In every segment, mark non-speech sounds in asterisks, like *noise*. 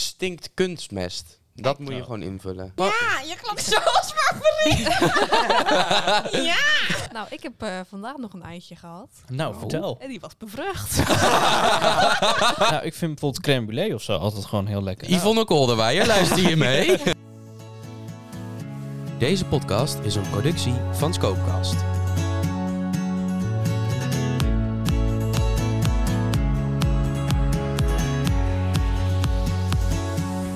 stinkt kunstmest. Dat moet je gewoon invullen. Ja, je klonk *laughs* zoals Marguerite. ja. Nou, ik heb eh, vandaag nog een eitje gehad. Nou, *laughs* vertel. En die was bevrucht. nou, ik vind bijvoorbeeld crème brûlée of zo altijd gewoon heel lekker. Yvonne Kolderweijer, luister je mee? *laughs* Deze podcast is een productie van Scoopcast.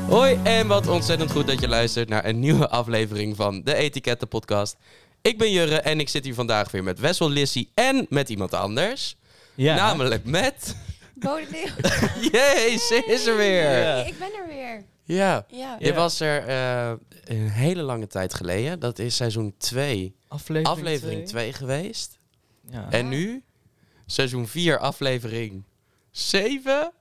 Hoi en wat ontzettend goed dat je luistert naar een nieuwe aflevering van de Etiketten Podcast. Ik ben Jurre en ik zit hier vandaag weer met Wessel Lissy en met iemand anders. ja. Namelijk met... Bodeleeuw. Jee, *laughs* ze is er weer! Ja. Ik ben er weer. Ja. Ja. Je Ja. was er eh, een hele lange tijd geleden. Dat is seizoen 2, aflevering, Eh, aflevering 2 geweest. Ja. En nu seizoen 4, aflevering 7,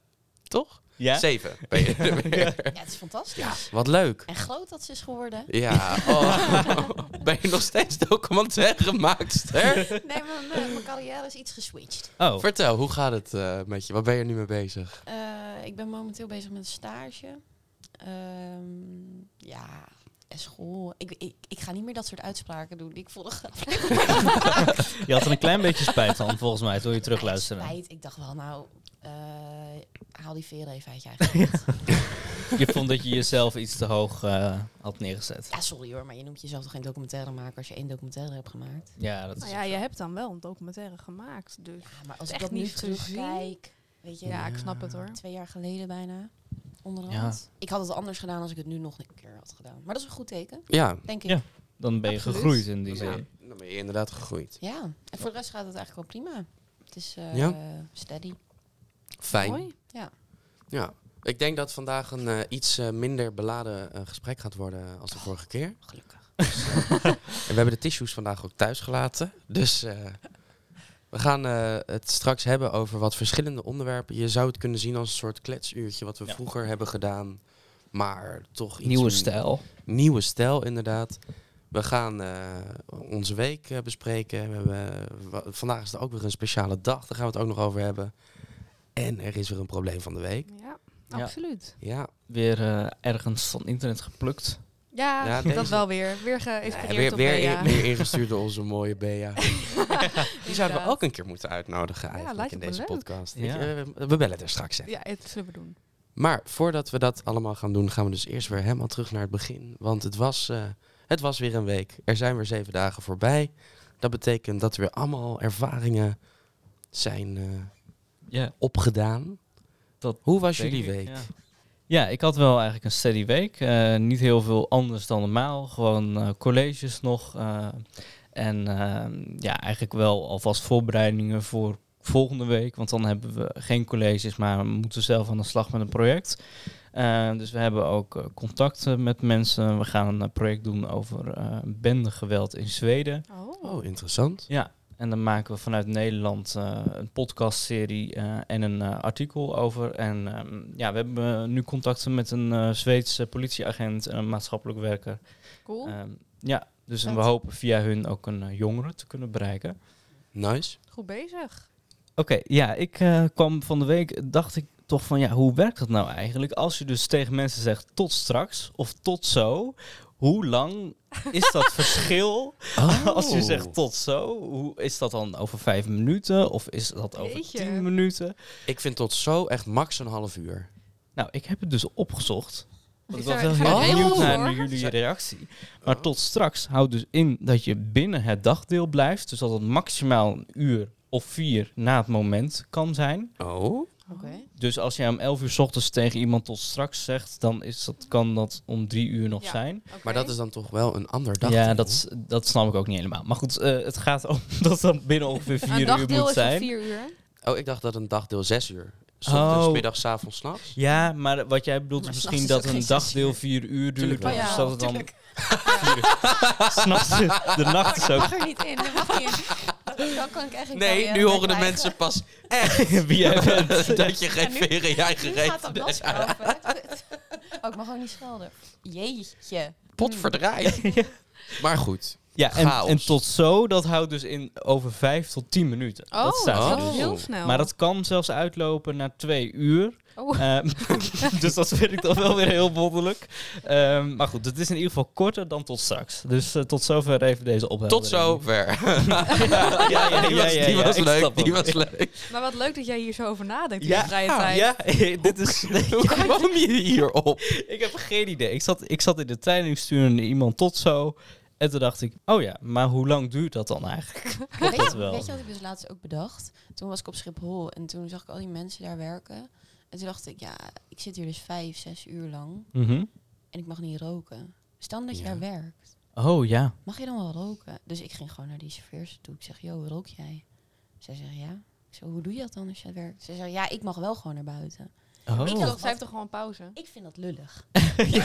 toch? Ja? 7 *laughs* ben je er weer. Ja, het is fantastisch. Wat leuk. En groot dat ze is geworden. Ja, oh. *laughs* ben je nog steeds documentairemaakster? Nee, mijn, mijn, mijn carrière is iets geswitcht. Oh, Vertel, hoe gaat het eh, met je? Wat ben je er nu mee bezig? Eh, ik ben momenteel bezig met een stage. Ehm, ja, en school. Ik, ik, ik ga niet meer dat soort uitspraken doen die ik vorige je had er een klein beetje spijt van, volgens mij, toen je Ja, terugluisterde. het *laughs* spijt. Ik dacht wel, nou, eh, haal die veren even uit je eigen mond. Je vond dat je jezelf iets te hoog eh, had neergezet. Ja, sorry hoor, maar je noemt jezelf toch geen documentairemaker als je één documentaire hebt gemaakt? Ja, dat is... Nou ja, je hebt dan wel een documentaire gemaakt. Dus Ja, maar als Is ik echt dat nu niet te terugkijk, weet je, ja, ik snap het hoor. twee jaar geleden bijna, onderhand. Ik had het anders gedaan als ik het nu nog een keer had gedaan. Maar dat is een goed teken, Ja, denk ik. Ja. Dan ben je Absoluut. gegroeid in die dan ben zin. je- dan ben je inderdaad gegroeid. Ja, en voor de rest gaat het eigenlijk wel prima. Het is eh, steady. Fijn. Mooi. Ja, ik denk dat vandaag een eh, iets eh, minder beladen eh, gesprek gaat worden als de vorige keer. *laughs* Gelukkig. En we hebben de tissues vandaag ook thuis gelaten. Dus eh, we gaan eh, het straks hebben over wat verschillende onderwerpen. Je zou het kunnen zien als een soort kletsuurtje wat we Ja. vroeger hebben gedaan. Maar toch iets Nieuwe meer- stijl. Nieuwe stijl, inderdaad. We gaan eh, onze week eh, bespreken. We hebben, eh, wa- vandaag is er ook weer een speciale dag. Daar gaan we het ook nog over hebben. En er is weer een probleem van de week. Ja, Ja. absoluut. Ja, Weer eh, ergens van internet geplukt. Ja, Ja, dat deze- wel weer. Weer Ja, geïnspireerd weer, op weer, Bea. *laughs* *laughs* in- weer ingestuurd door onze mooie Bea. Die zouden we Inderdaad. ook een keer moeten uitnodigen eigenlijk lijkt in me deze leuk. podcast. Ja. Ik, eh, we bellen er straks. Hè. Ja, het zullen we doen. Maar voordat we dat allemaal gaan doen, gaan we dus eerst weer helemaal terug naar het begin. Want het was, eh, het was weer een week. Er zijn weer zeven dagen voorbij. Dat betekent dat er weer allemaal ervaringen zijn eh, Ja. opgedaan. Dat Hoe was Denk jullie ik, week? Ja. Ja, ik had wel eigenlijk een steady week. Eh, niet heel veel anders dan normaal. Gewoon eh, colleges nog. eh, en eh, ja, eigenlijk wel alvast voorbereidingen voor volgende week. Want dan hebben we geen colleges, maar we moeten zelf aan de slag met een project. Eh, dus we hebben ook eh, contacten met mensen. We gaan een eh, project doen over eh bendegeweld in Zweden. Oh, Oh, interessant. Ja, en dan maken we vanuit Nederland eh, een podcastserie eh, en een eh, artikel over. En ehm, ja, we hebben eh, nu contacten met een eh, Zweedse politieagent en een maatschappelijk werker. cool. Ehm, ja, dus en we Vet. hopen via hun ook een eh, jongere te kunnen bereiken. Nice. Goed bezig. Oké, ja, ik eh, kwam van de week, dacht ik toch van ja, hoe werkt dat nou eigenlijk? Als je dus tegen mensen zegt tot straks of tot zo, hoe lang is dat verschil? *laughs* Als je Oh. zegt tot zo, hoe is dat dan over vijf minuten of is dat over Jeetje. tien minuten? Ik vind tot zo echt max een half uur. Nou, ik heb het dus opgezocht. Want ik Is was er- wel heel zijn er benieuwd regels naar voor? jullie reactie. Maar tot straks houdt dus in dat je binnen het dagdeel blijft. Dus dat het maximaal een uur of vier na het moment kan zijn. Oh. Oké. Dus als jij om elf uur 's ochtends tegen iemand tot straks zegt, dan is dat, kan dat om drie uur nog Ja. zijn. Maar dat is dan toch wel een ander dag. Ja, dat, s- dat snap ik ook niet helemaal. Maar goed, eh, het gaat om *laughs* dat dat binnen ongeveer Een vier uur dagdeel moet is om zijn. vier uur. Oh, ik dacht dat een dagdeel zes uur. Ochtends, Oh. middags, avonds, s'nachts. Ja, maar wat jij bedoelt Maar is s'nachts misschien is dat ook een geen zes dagdeel uur. vier uur duurt. Tuurlijk wel. Dus Ja, dat het dan tuurlijk. vier uur. *laughs* S'nachts, de nacht is ook. Mag er niet in. dat *laughs* mag niet. Dan kan ik echt geen Nee, carrière nu meer horen de krijgen. mensen pas echt Wie *laughs* jij bent. dat je geen En nu- veren in je eigen *laughs* Nu reet gaat dat *laughs* lastig *laughs* *laughs* *laughs* over. Oh, ik mag ook niet schelden. Jeetje. *laughs* pot verdraait. Maar goed, Ja, en, Chaos. en tot zo, dat houdt dus in over vijf tot tien minuten. Oh, dat staat oh. er dat dus. is heel Oh. snel. Maar dat kan zelfs uitlopen naar twee uur. Oh. Ehm, *laughs* dus dat vind ik dan wel weer heel wonderlijk. Ehm, maar goed, het is in ieder geval korter dan tot straks. Dus eh, tot zover even deze opheldering. Tot zover. ja, ja, *laughs* ja, die was, ja, die ja, was ik leuk. snap Die hem. was leuk. *laughs* Maar wat leuk dat jij hier zo over nadenkt in Ja, je vrije tijd. Ja, *laughs* dit *laughs* is... Hoe kwam je hierop? ik heb geen idee. Ik zat, ik zat in de trein en ik stuurde iemand tot zo. En toen dacht ik, oh ja, maar hoe lang duurt dat dan eigenlijk? *laughs* Weet, dat je- wel. weet je wat ik dus laatst ook bedacht? Toen was ik op Schiphol en toen zag ik al die mensen daar werken. En toen dacht ik, ja, ik zit hier dus vijf, zes uur lang Mhm. en ik mag niet roken. Stel dat je Ja. daar werkt, Oh ja. mag je dan wel roken? Dus ik ging gewoon naar die chauffeurs toe. Ik zeg, joh, rook jij? Zij zeggen, ja. Ik zeg, hoe doe je dat dan als je werkt? Zij zeggen, ja, ik mag wel gewoon naar buiten. Oh. Ik Oh. dacht, zij heeft toch gewoon pauze? Ik vind dat *laughs* lullig. *laughs* ik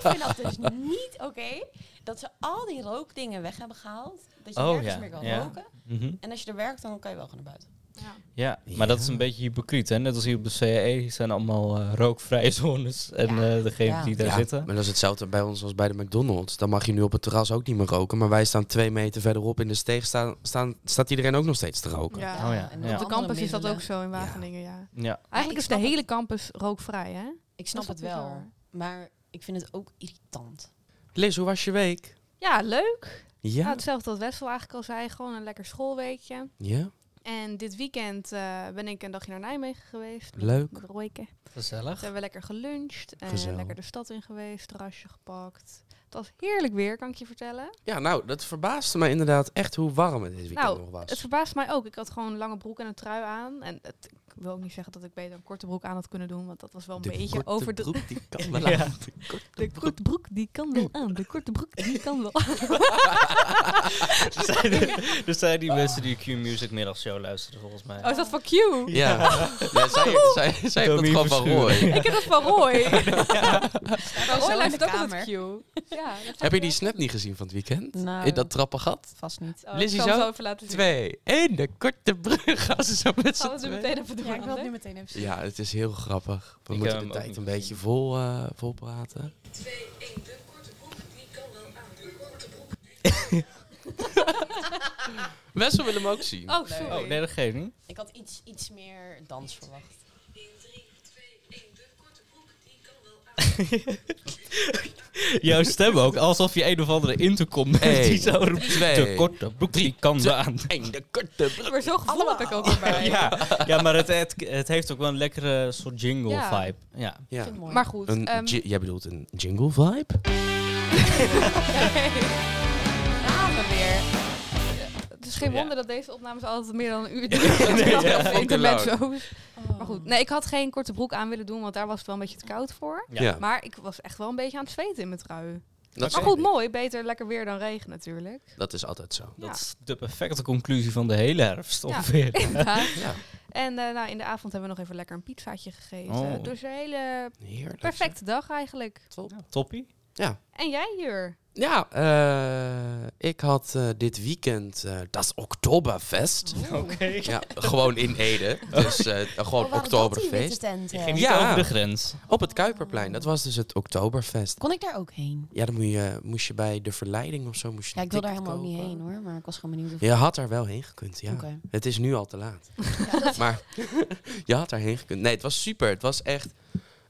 vind dat dus niet oké dat ze al die rookdingen weg hebben gehaald. Dat je Oh, nergens ja, meer kan ja. roken. Mhm. En als je er werkt, dan kan je wel gewoon naar buiten. Ja. Ja, maar dat is een beetje hypocriet. Hè? Net als hier op de CAE zijn allemaal eh, rookvrije zones. En Ja, eh, degenen ja. die daar Ja, zitten. Maar dat is hetzelfde bij ons als bij de McDonald's. Dan mag je nu op het terras ook niet meer roken. Maar wij staan twee meter verderop in de steeg. Staan, staan, staat iedereen ook nog steeds te roken. Ja. Oh ja, en ja. Op de andere campus is dat middelen. ook zo in Wageningen, ja. Ja. ik Eigenlijk is de snap het. hele campus rookvrij, hè? Dus Ik snap Dat het is toch wel, bizar? maar ik vind het ook irritant. Liz, hoe was je week? Ja, leuk. Ja, Ja? hetzelfde wat Wessel eigenlijk al zei. Gewoon een lekker schoolweekje. Ja? En dit weekend eh, ben ik een dagje naar Nijmegen geweest. met- Leuk. Met Royke. Toen Gezellig. *laughs* hebben we lekker geluncht. En Gezellig. lekker de stad in geweest. Terrasje gepakt. Het was heerlijk weer, kan ik je vertellen. Ja, nou, dat verbaasde me inderdaad echt hoe warm het dit weekend Nou, nog was. Het verbaast mij ook. Ik had gewoon een lange broek en een trui aan. En het, ik wil ook niet zeggen dat ik beter een korte broek aan had kunnen doen. Want dat was wel een De beetje korte over de... broek, die kan Ja. wel aan. De korte De broek. korte broek die kan wel aan. De korte broek die kan wel er, Dus zijn, *laughs* er zijn die mensen die Q-Music middagshow luisteren, volgens mij. Oh, is dat van Q? Ja, ja zij, zij, zij heeft dat Domien gewoon van Verschuren. Roy. Ik heb dat van Roy. zo Roy in luistert de ook kamer. altijd Q. Ja, dat Heb je die snap niet gezien van het weekend? Nou, In dat trappengat? vast niet. Oh, Lizzie ik zal hem zo? even laten zien. Twee, één, de korte brug. Gaan ze zo met Gaan z'n we ze tweeën. meteen even doen. Ja, ik wil het hè? nu meteen even zien. Ja, het is heel grappig. We Ik heb moeten de hem ook tijd niet een beetje vol, eh, vol praten. *laughs* Wessel wil hem ook zien. Oh, sorry. Oh, nee, dat geeft niet. Ik had iets, iets meer dans verwacht. Jouw stem ook, alsof je een of andere intercom bent Eén, die zo roept. twee, de korte broek die kan wel aan. Eén, de korte brug. Maar zo gevoel had ik ook *laughs* erbij. Ja, ja maar het, het, het heeft ook wel een lekkere soort Ja. jingle-vibe. Ja. Ik Ja. vind het mooi. Maar goed. Een ehm, ji- jij bedoelt een jingle vibe? *laughs* namen weer. Het is geen Ja. wonder dat deze opnames altijd meer *laughs* dan een uur duren. Of fucking intermezzo's. Oh. Maar goed, nee, ik had geen korte broek aan willen doen, want daar was het wel een beetje te koud voor. Ja. Maar ik was echt wel een beetje aan het zweten in mijn trui. dat, Maar is, goed, mooi. Beter lekker weer dan regen *laughs* natuurlijk. dat is altijd zo. Dat Ja. is de perfecte conclusie van de hele herfst Ja. ongeveer. Ja. Ja, En eh, nou, in de avond hebben we nog even lekker een pizzaatje gegeten. Oh. Dus een hele heerlijk. perfecte dag eigenlijk. Ja, toppie. Ja, En jij, Jur? ja eh, ik had eh, dit weekend eh dat Oktoberfest. Oké. Ja, gewoon in Ede. Dus eh, gewoon *laughs* Oh, waren dat die witte Oktoberfeest. tenten? Je ging niet Ja. over de grens. Op het Kuiperplein, dat was dus het Oktoberfest. Kon ik daar ook heen? Ja, dan moest je, moest je bij de verleiding of zo. Moest je Ja, een ik wil daar ticket helemaal ook niet kopen. heen hoor, maar ik was gewoon benieuwd of Je had daar wel heen gekund, ja. Oké. Het is nu al te laat. maar *laughs* je had daarheen gekund. Nee, het was super. Het was echt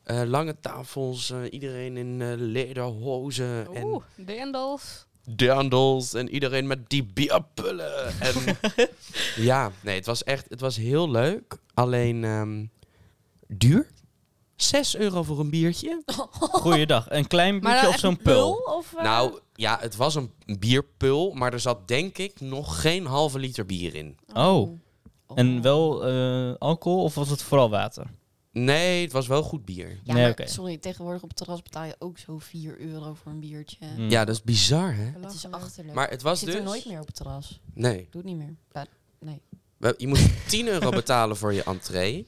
eh, lange tafels, eh, iedereen in eh, lederhozen en Oeh, dendels. dandels en iedereen met die bierpullen. En ja, nee, het was echt het was heel leuk. Alleen ehm, duur. 6 euro voor een biertje. Goeiedag. Een klein Maar biertje dan of echt zo'n een pul? pul? Of, eh, Nou, ja, het was een bierpul, maar er zat denk ik nog geen halve liter bier in. Oh. En wel eh, alcohol of was het vooral water? Nee, het was wel goed bier. Ja, Nee, maar, oké. sorry, tegenwoordig op het terras betaal je ook zo 4 euro voor een biertje. Hmm. Ja, dat is bizar, hè? Het is belachelijk. achterlijk. Maar het was ik zit dus... er nooit meer op het terras. Nee. Ik Doe het niet meer. Maar- Wel, Je moest 10 euro betalen voor je entree.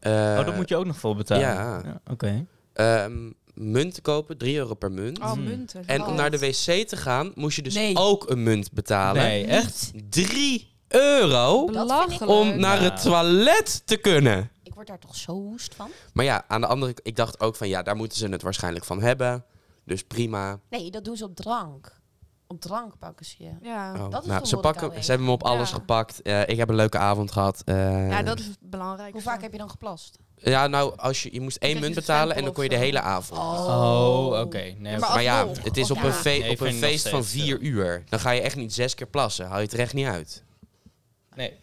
Eh, oh, dat moet je ook nog voor betalen. ja. Oké. ehm, munt kopen, 3 euro per munt. Oh, Hmm. munten. mm. En om naar de wc te gaan, moest je dus Nee. ook een munt betalen. Nee, echt? 3 euro Oh, Belachelijk. om naar Ja. het toilet te kunnen. Ik word daar toch zo woest van? Maar ja, aan de andere kant, ik dacht ook van ja, daar moeten ze het waarschijnlijk van hebben. Dus prima. Nee, dat doen ze op drank. op drank pakken ze je. Ja. Oh, dat is nou, toch ze, wat pakken, ik ze al eet. hebben me op alles Ja. gepakt. Eh, ik heb een leuke avond gehad. Eh, ja, Nou, dat is het belangrijkste. Hoe vaak heb je dan geplast? ja, nou, als je, je moest één je munt een betalen en stempel dan kon je of de zo. hele avond. Oh, oké. Nee, Ja, oké. maar Maar ja, alsnog. het is op Ja. een, fe- Nee, op vind een ik nog feest van steeds vier uur. Dan ga je echt niet zes keer plassen. Hou je het recht niet uit. nee.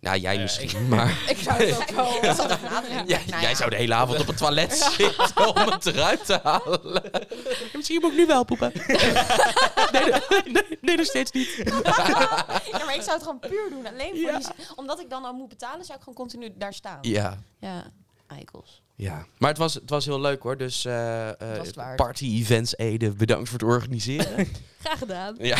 Nou, jij Ja, misschien, maar... *laughs* Ik zou het ook wel. Ik zou het nadenken. Jij, Nou jij ja. *laughs* zou de hele avond op het toilet zitten om het eruit te halen. Misschien moet ik nu wel poepen. nee, nee, nee, nog steeds niet. ja, maar ik zou het gewoon puur doen. Alleen voor Ja. die- omdat ik dan al moet betalen, zou ik gewoon continu daar staan. Ja, Ja, eikels. ja. maar het was, het was heel leuk hoor. Dus eh, eh, was het waard. party events Ede, bedankt voor het *laughs* organiseren. Graag gedaan. ja.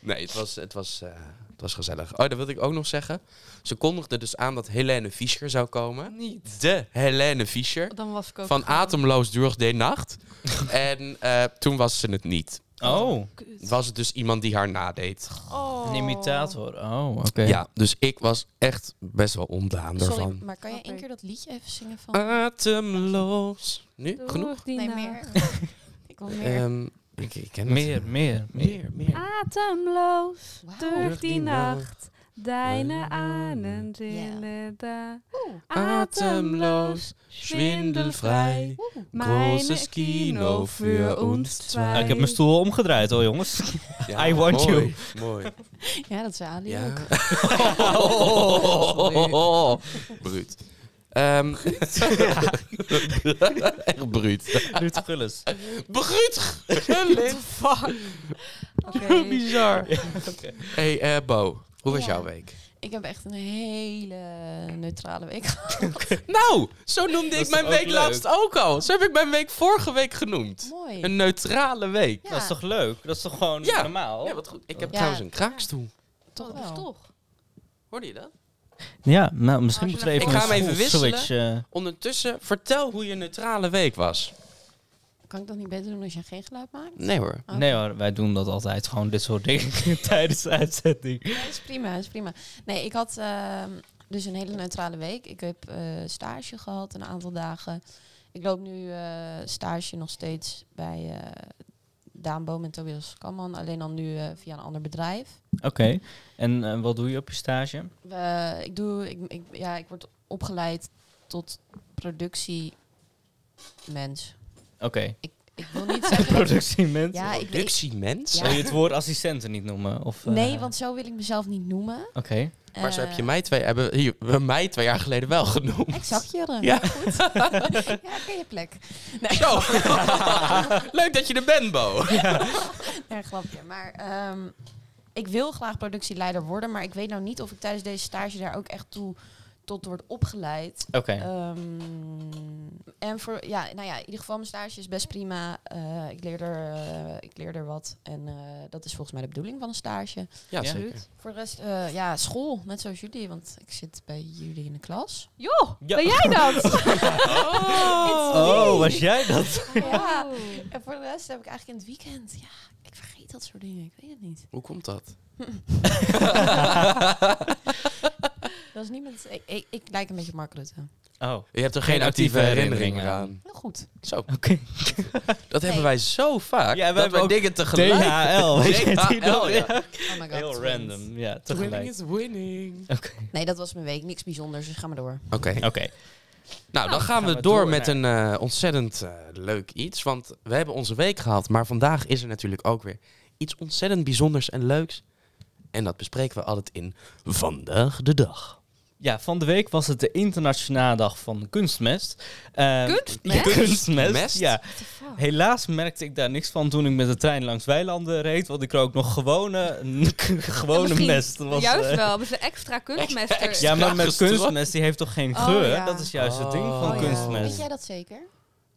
nee, het was, het, was, eh, het was gezellig. Oh, dat wilde ik ook nog zeggen. Ze kondigden dus aan dat Helene Fischer zou komen. Niet. De Helene Fischer. Dan was ik ook Van gewoon- Atemloos Durig de Nacht. *laughs* en eh, toen was ze het niet. Oh, Kut. Was het dus iemand die haar nadeed. Oh. een imitator. Oh, oké. Ja, dus ik was echt best wel ondaan Sorry, Oh. daarvan. maar kan je Snap één ik. keer dat liedje even zingen van... Atemloos. Nu? Door Genoeg? die nee, nacht. meer. *laughs* ik wil meer. Ehm, ik, ik ken het. Meer, meer, meer. Meer, meer. Atemloos Wauw. door Durch die die nacht. Deine Ja. Ahnen rillen da. Oeh. Atemloos, Schwindelvrij. Oeh. Großes Kino für uns zwei. Nou, ik heb mijn stoel al omgedraaid hoor, jongens. *laughs* *laughs* Ja, I want mooi, you. Mooi. Ja, dat zei Ali Ja. *laughs* ook. *laughs* Bruut. Ehm, *laughs* echt bruut. Ruud Gullis. Bruut! Gelid. *laughs* *laughs* Bizar. Hey eh, Bo, hoe was Ja. jouw week? Ik heb echt een hele neutrale week Nou, zo noemde Dat ik is mijn ook week leuk. laatst ook al. Zo heb ik mijn week vorige week genoemd. Mooi. Een neutrale week. Ja, Dat is toch leuk? Dat is toch gewoon Ja. normaal? Ja, wat goed. Ik heb Ja. trouwens een kraakstoel. toch Oh, dat is wel. toch? Hoorde je dat? Ja, nou, misschien Als je moeten we even Ik ga een hem even school- wisselen. switch. eh, Ondertussen, vertel hoe je neutrale week was. Kan ik dat niet beter doen als je geen geluid maakt? Nee hoor. Oké. Nee hoor, wij doen dat altijd. Gewoon dit soort dingen *laughs* tijdens de uitzending. Ja, is prima, is prima. Nee, ik had ehm, dus een hele neutrale week. Ik heb eh, stage gehad een aantal dagen. Ik loop nu eh, stage nog steeds bij eh, Daan Boom en Tobias Kamman. Alleen dan nu eh, via een ander bedrijf. Oké, en eh, wat doe je op je stage? Eh, ik, doe, ik, ik, ja, ik word opgeleid tot productiemens. Oké, *laughs* Ik wil *laughs* niet zeggen... productiemens. ja, ik, ik, Productiemens? Ja. Zou je het woord assistenten niet noemen? Of, eh, nee, want zo wil ik mezelf niet noemen. Oké, Maar zo heb je Eh, mij twee, hebben, hier, we hebben mij twee jaar geleden wel genoemd. Exact, Jurre. Ja. Ja. Goed. *laughs* ja, ken je plek. Nee, Zo. *laughs* Leuk dat je er bent, Bo. *laughs* Ja, grapje. Maar ehm, ik wil graag productieleider worden, maar ik weet nou niet of ik tijdens deze stage daar ook echt toe tot word opgeleid. oké. Eh, Ehm, en voor, ja, nou ja, in ieder geval mijn stage is best prima. Eh, ik, leer er, eh, ik leer er wat en eh, dat is volgens mij de bedoeling van een stage. Ja, Ja. zeker. Voor de rest, eh, ja, school, net zoals jullie, want ik zit bij jullie in de klas. Joh, Ja. ben jij dat? *laughs* Oh, was jij dat? Ja. En voor de rest heb ik eigenlijk in het weekend, ja, ik vergeet dat soort dingen, ik weet het niet. Hoe komt dat? *laughs* Dat is niemand, ik, ik, ik lijk een beetje op Mark Rutte. Oh, *laughs* oké. Je hebt er Geen actieve herinneringen Heel goed. Zo, dat hebben wij zo vaak. Ja, wij dat hebben wij ook dingen tegelijk. *laughs* DHL, weet je die DHL, nog? ja. Ja. Oh my god. Heel random, ja, Winning tegelijk. is winning. Oké, Nee, dat was mijn week. Niks bijzonders, dus ga maar door. Oké, oké. nou dan gaan we, door, met een eh, ontzettend eh, leuk iets. Want we hebben onze week gehad, maar vandaag is er natuurlijk ook weer iets ontzettend bijzonders en leuks. En dat bespreken we altijd in Vandaag de Dag. Ja, van de week was het de internationale dag van kunstmest. Eh, Kunstmest? kunstmest, Mest? ja. What the fuck? Helaas merkte ik daar niks van toen ik met de trein langs Weilanden reed, want ik rook nog gewone, *laughs* Ja, gewone misschien mest. Dat was, Juist eh, wel, hebben ze extra kunstmest er- extra. Ja, maar met Gestrooid. kunstmest, die heeft toch geen Oh, geur? ja. Dat is juist het ding Oh, van ja. Weet kunstmest. jij dat zeker?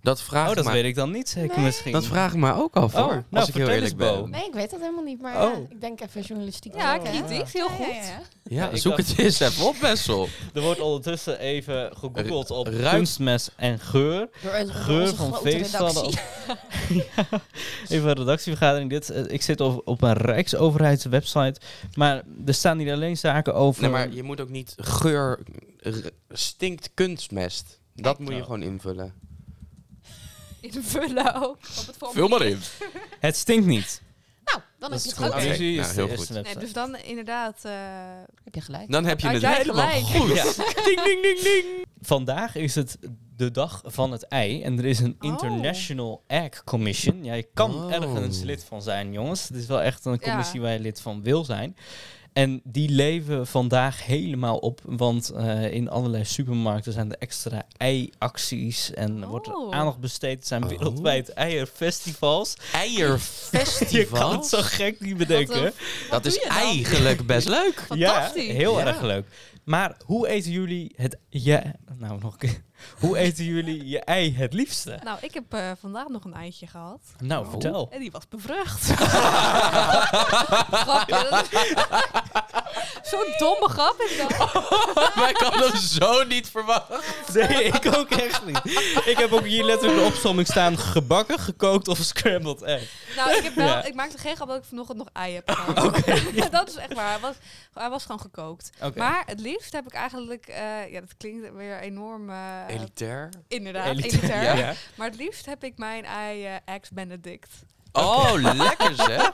Dat vraag Oh, dat maar, weet ik dan niet zeker misschien. Dat vraag ik me ook al voor, nou, als ik heel vertel eerlijk eens, Bo. ben. Nee, ik weet dat helemaal niet, maar Oh. ja, ik denk even journalistiek. eh, Ja, te doen. kritisch, heel goed. Ja, Ja, ik zoek dacht- het eens even op, *laughs* Wessel. Er wordt ondertussen even gegoogeld op Ruikt- kunstmest en geur. Door een Geur onze van grote feestdagen. redactie. Even een redactievergadering. Dit, eh, ik zit op, op een Rijksoverheidswebsite. Maar er staan niet alleen zaken over. Nee, maar je moet ook niet geur r- stinkt kunstmest. Dat moet je Oh. gewoon invullen. invullen ook. Op het formulier. Vul maar in. Het stinkt niet. *laughs* Nou, Dat dan heb is je het goed. goed. Oké, Conclusie nou, is, heel is goed. de Nee, website. dus dan inderdaad... eh, Heb je Nou, gelijk. Dan heb je Had het jij helemaal gelijk. goed. *laughs* Ja. ding, ding, ding, ding. Vandaag is het de dag van het ei. En er is een Oh. International Egg Commission. Ja, je kan Oh. ergens lid van zijn, jongens. Het is wel echt een Ja. commissie waar je lid van wil zijn. En die leven vandaag helemaal op. Want eh, in allerlei supermarkten zijn er extra ei-acties. En er wordt er Oh. aandacht besteed. Er zijn Oh. wereldwijd eierfestivals. *laughs* Je Eierfestival. kan het zo gek niet bedenken. wat dat doe is je dan? eigenlijk best leuk. Fantastisch. Ja, heel Ja. erg leuk. Maar hoe eten jullie het... Ja, nou, nog een keer. Hoe eten jullie je ei het liefste? Nou, ik heb eh, vandaag nog een eitje gehad. Nou, Oh. vertel. En die was *laughs* bevrucht. Grapje, dat is- Zo'n domme grap is dat. *laughs* Maar ik had hem zo niet verwachten. Nee, ik ook echt niet. Ik heb ook hier letterlijk de opzomming staan. Gebakken, gekookt of scrambled egg. Nou, ik, heb wel, Ja. ik maakte geen grap dat ik vanochtend nog ei *laughs* heb gehad. Oké. *laughs* dat is echt waar. Hij was, hij was gewoon gekookt. Oké. Maar het liefst heb ik eigenlijk... eh, ja, dat klinkt weer enorm... eh, Elitair. inderdaad, Elitair, elitair. *laughs* Ja. Ja. Maar het liefst heb ik mijn ei eh, ex-Benedict. Oh, lekker zeg. Ja,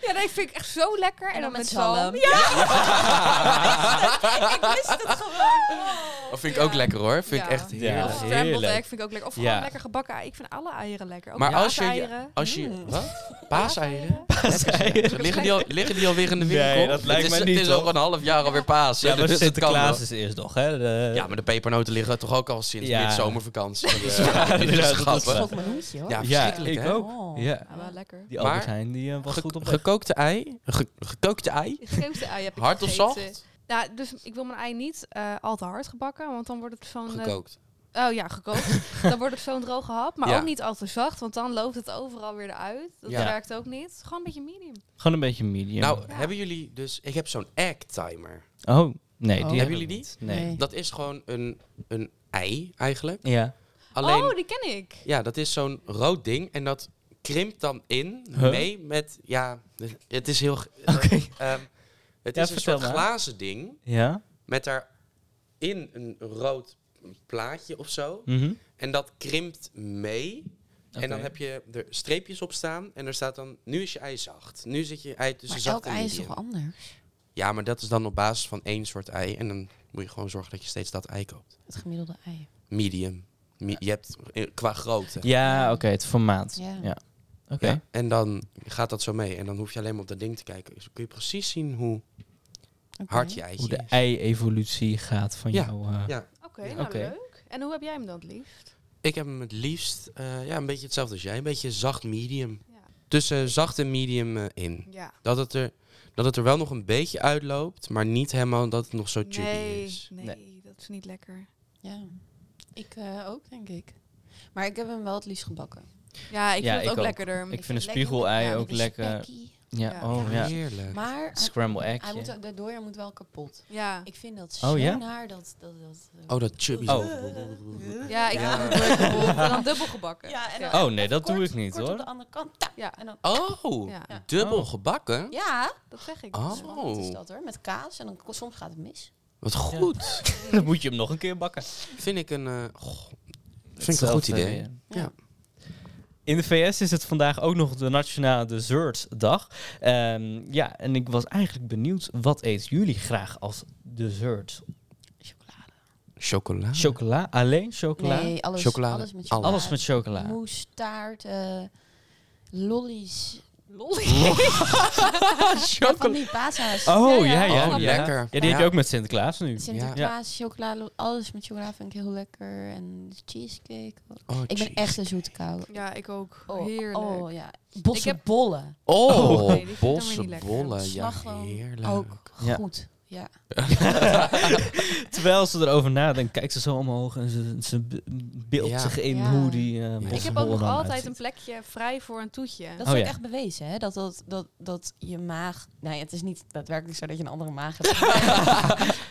dat vind ik echt zo lekker. En, dan, met zalm. Ja, *laughs* Ja. ik wist het gewoon. *laughs* Dat vind ik ook lekker hoor. Vind ik Ja. echt Ja. heerlijk. Of scrambled Heerlijk. egg vind ik ook lekker. Of Ja. gewoon lekker gebakken ei. Ik vind alle eieren lekker. Ook Maar als je- paaseieren. Als je... Mm. Wat? Paaseieren? Paaseieren. Liggen die, al, liggen die alweer in de winkel? Nee, dat lijkt het is, mij niet, Het is al hoor. een half jaar alweer paas. Ja, hè, maar dus het kan Sinterklaas wel. is eerst nog, hè? De- Ja, maar de pepernoten liggen toch ook al sinds Ja. midzomervakantie. Dus Ja, dit *laughs* inderdaad, is dat Ik grappig. schrok mijn hoedje hoor. Ja, Ja, verschrikkelijk ik hè? ook. Oh. Ja. Ja, wel lekker. Die Maar- Albert Heijn, die eh, was Ge- goed op weg. gekookte ei? Ge- gekookte ei? Het gekookte ei heb ik Hard of gegeten. zacht? Ja, dus ik wil mijn ei niet eh, al te hard gebakken, want dan wordt het zo'n... eh, Gekookt. oh ja, *laughs* gekookt. dan wordt het zo'n droge hap, maar Ja. ook niet al te zacht, want dan loopt het overal weer eruit. Dat Ja. werkt ook niet. Gewoon een beetje medium. Gewoon een beetje medium. Nou, Ja. hebben jullie dus... Ik heb zo'n egg timer. oh, nee. Oh. Die Hebben jullie we die? niet. Nee. Nee. Dat is gewoon een, een ei eigenlijk. Ja. Alleen, Oh, die ken ik. ja, dat is zo'n rood ding en dat krimpt dan in Huh? mee met, ja, het is *laughs* heel... ge- Ehm, het Ja, is een vertel soort maar. glazen ding Ja? met daarin een rood plaatje of zo. Mhm. En dat krimpt mee. En dan Oké. heb je er streepjes op staan en er staat dan, nu is je ei zacht. Nu zit je ei tussen maar zacht elk en ei is medium. toch anders? Ja, maar dat is dan op basis van één soort ei en dan moet je gewoon zorgen dat je steeds dat ei koopt. Het gemiddelde ei. Medium. Mi- je hebt eh, qua grootte. Ja, oké, het formaat. Ja. Ja. Oké. Ja, en dan gaat dat zo mee. En dan hoef je alleen maar op dat ding te kijken. Dus dan kun je precies zien hoe Oké. hard je Hoe eitje de is. ei-evolutie gaat van Ja, jou. eh. ja. Oké, nou Oké. leuk. En hoe heb jij hem dan het liefst? Ik heb hem het liefst eh, ja, een beetje hetzelfde als jij. Een beetje zacht medium. Ja. Tussen zacht en medium eh, in. ja. Dat het, er, dat het er wel nog een beetje uitloopt. Maar niet helemaal dat het nog zo chubby Nee, is. nee, dat is niet lekker. Ja. Ik eh, ook, denk ik. Maar ik heb hem wel het liefst gebakken. Ja, ik Ja, vind het ik ook, ook. lekkerder. Ik vind een lekker spiegelei met- ja, ook met lekker. spekkie. Ja, Ja. oh ja. Heerlijk. Maar hij, Scramble hij moet egg. ook, de dooier moet wel kapot. Ja, Ik vind dat zo Oh, ja? naar dat... dat, dat eh, Oh, dat chubby. Oh. ja ik Ja. vind het *laughs* leuk gebakken. En dan dubbel gebakken. Ja, en dan- Oh nee, dat Kort- doe ik niet kort op de hoor. andere kant. tak, Ja. En dan, Oh, Ja. dubbel Oh. gebakken. ja, Dat zeg ik. Oh. dus. zo handig is dat hoor. Met kaas. En dan, soms gaat het mis. Wat goed. Dan moet je hem nog een keer bakken. Vind ik een... eh, goh, vind ik een goed idee. Ja. In de VS is het vandaag ook nog de Nationale Dessertdag. Ehm ja, en ik was eigenlijk benieuwd, wat eten jullie graag als dessert? Chocolade. Chocola. Chocola? Alleen chocola? Nee, alles, Chocolade. alles Alles. met chocolade. Alles met chocola. Moes, taart, eh, lollies. *laughs* Ja, van die pasa's. Oh, ja, Oh, ja. ja. lekker. Ja, die heb je Ja. ook met Sinterklaas nu. Sinterklaas, chocola, lo- alles met chocola vind ik heel lekker. En cheesecake. Oh, ik ben jeez. echt een zoete kou. Ja, ik ook. Oh, Heerlijk. Oh ja. Bossenbollen. Oh, Oh, nee, die vind ik dan weer niet lekker. bossenbollen. Ja, Slagroom heerlijk. Ook Ja. goed. Ja. *laughs* Terwijl ze erover nadenkt, kijkt ze zo omhoog en ze, ze be- beeldt Ja. zich in Ja. hoe die eh Ik Ik heb ook bossenbollen nog dan altijd uitziet. een plekje vrij voor een toetje. Dat Oh, is ook ja. echt bewezen, hè? Dat, dat, dat, dat je maag... Nou ja, het is niet daadwerkelijk zo dat je een andere maag hebt.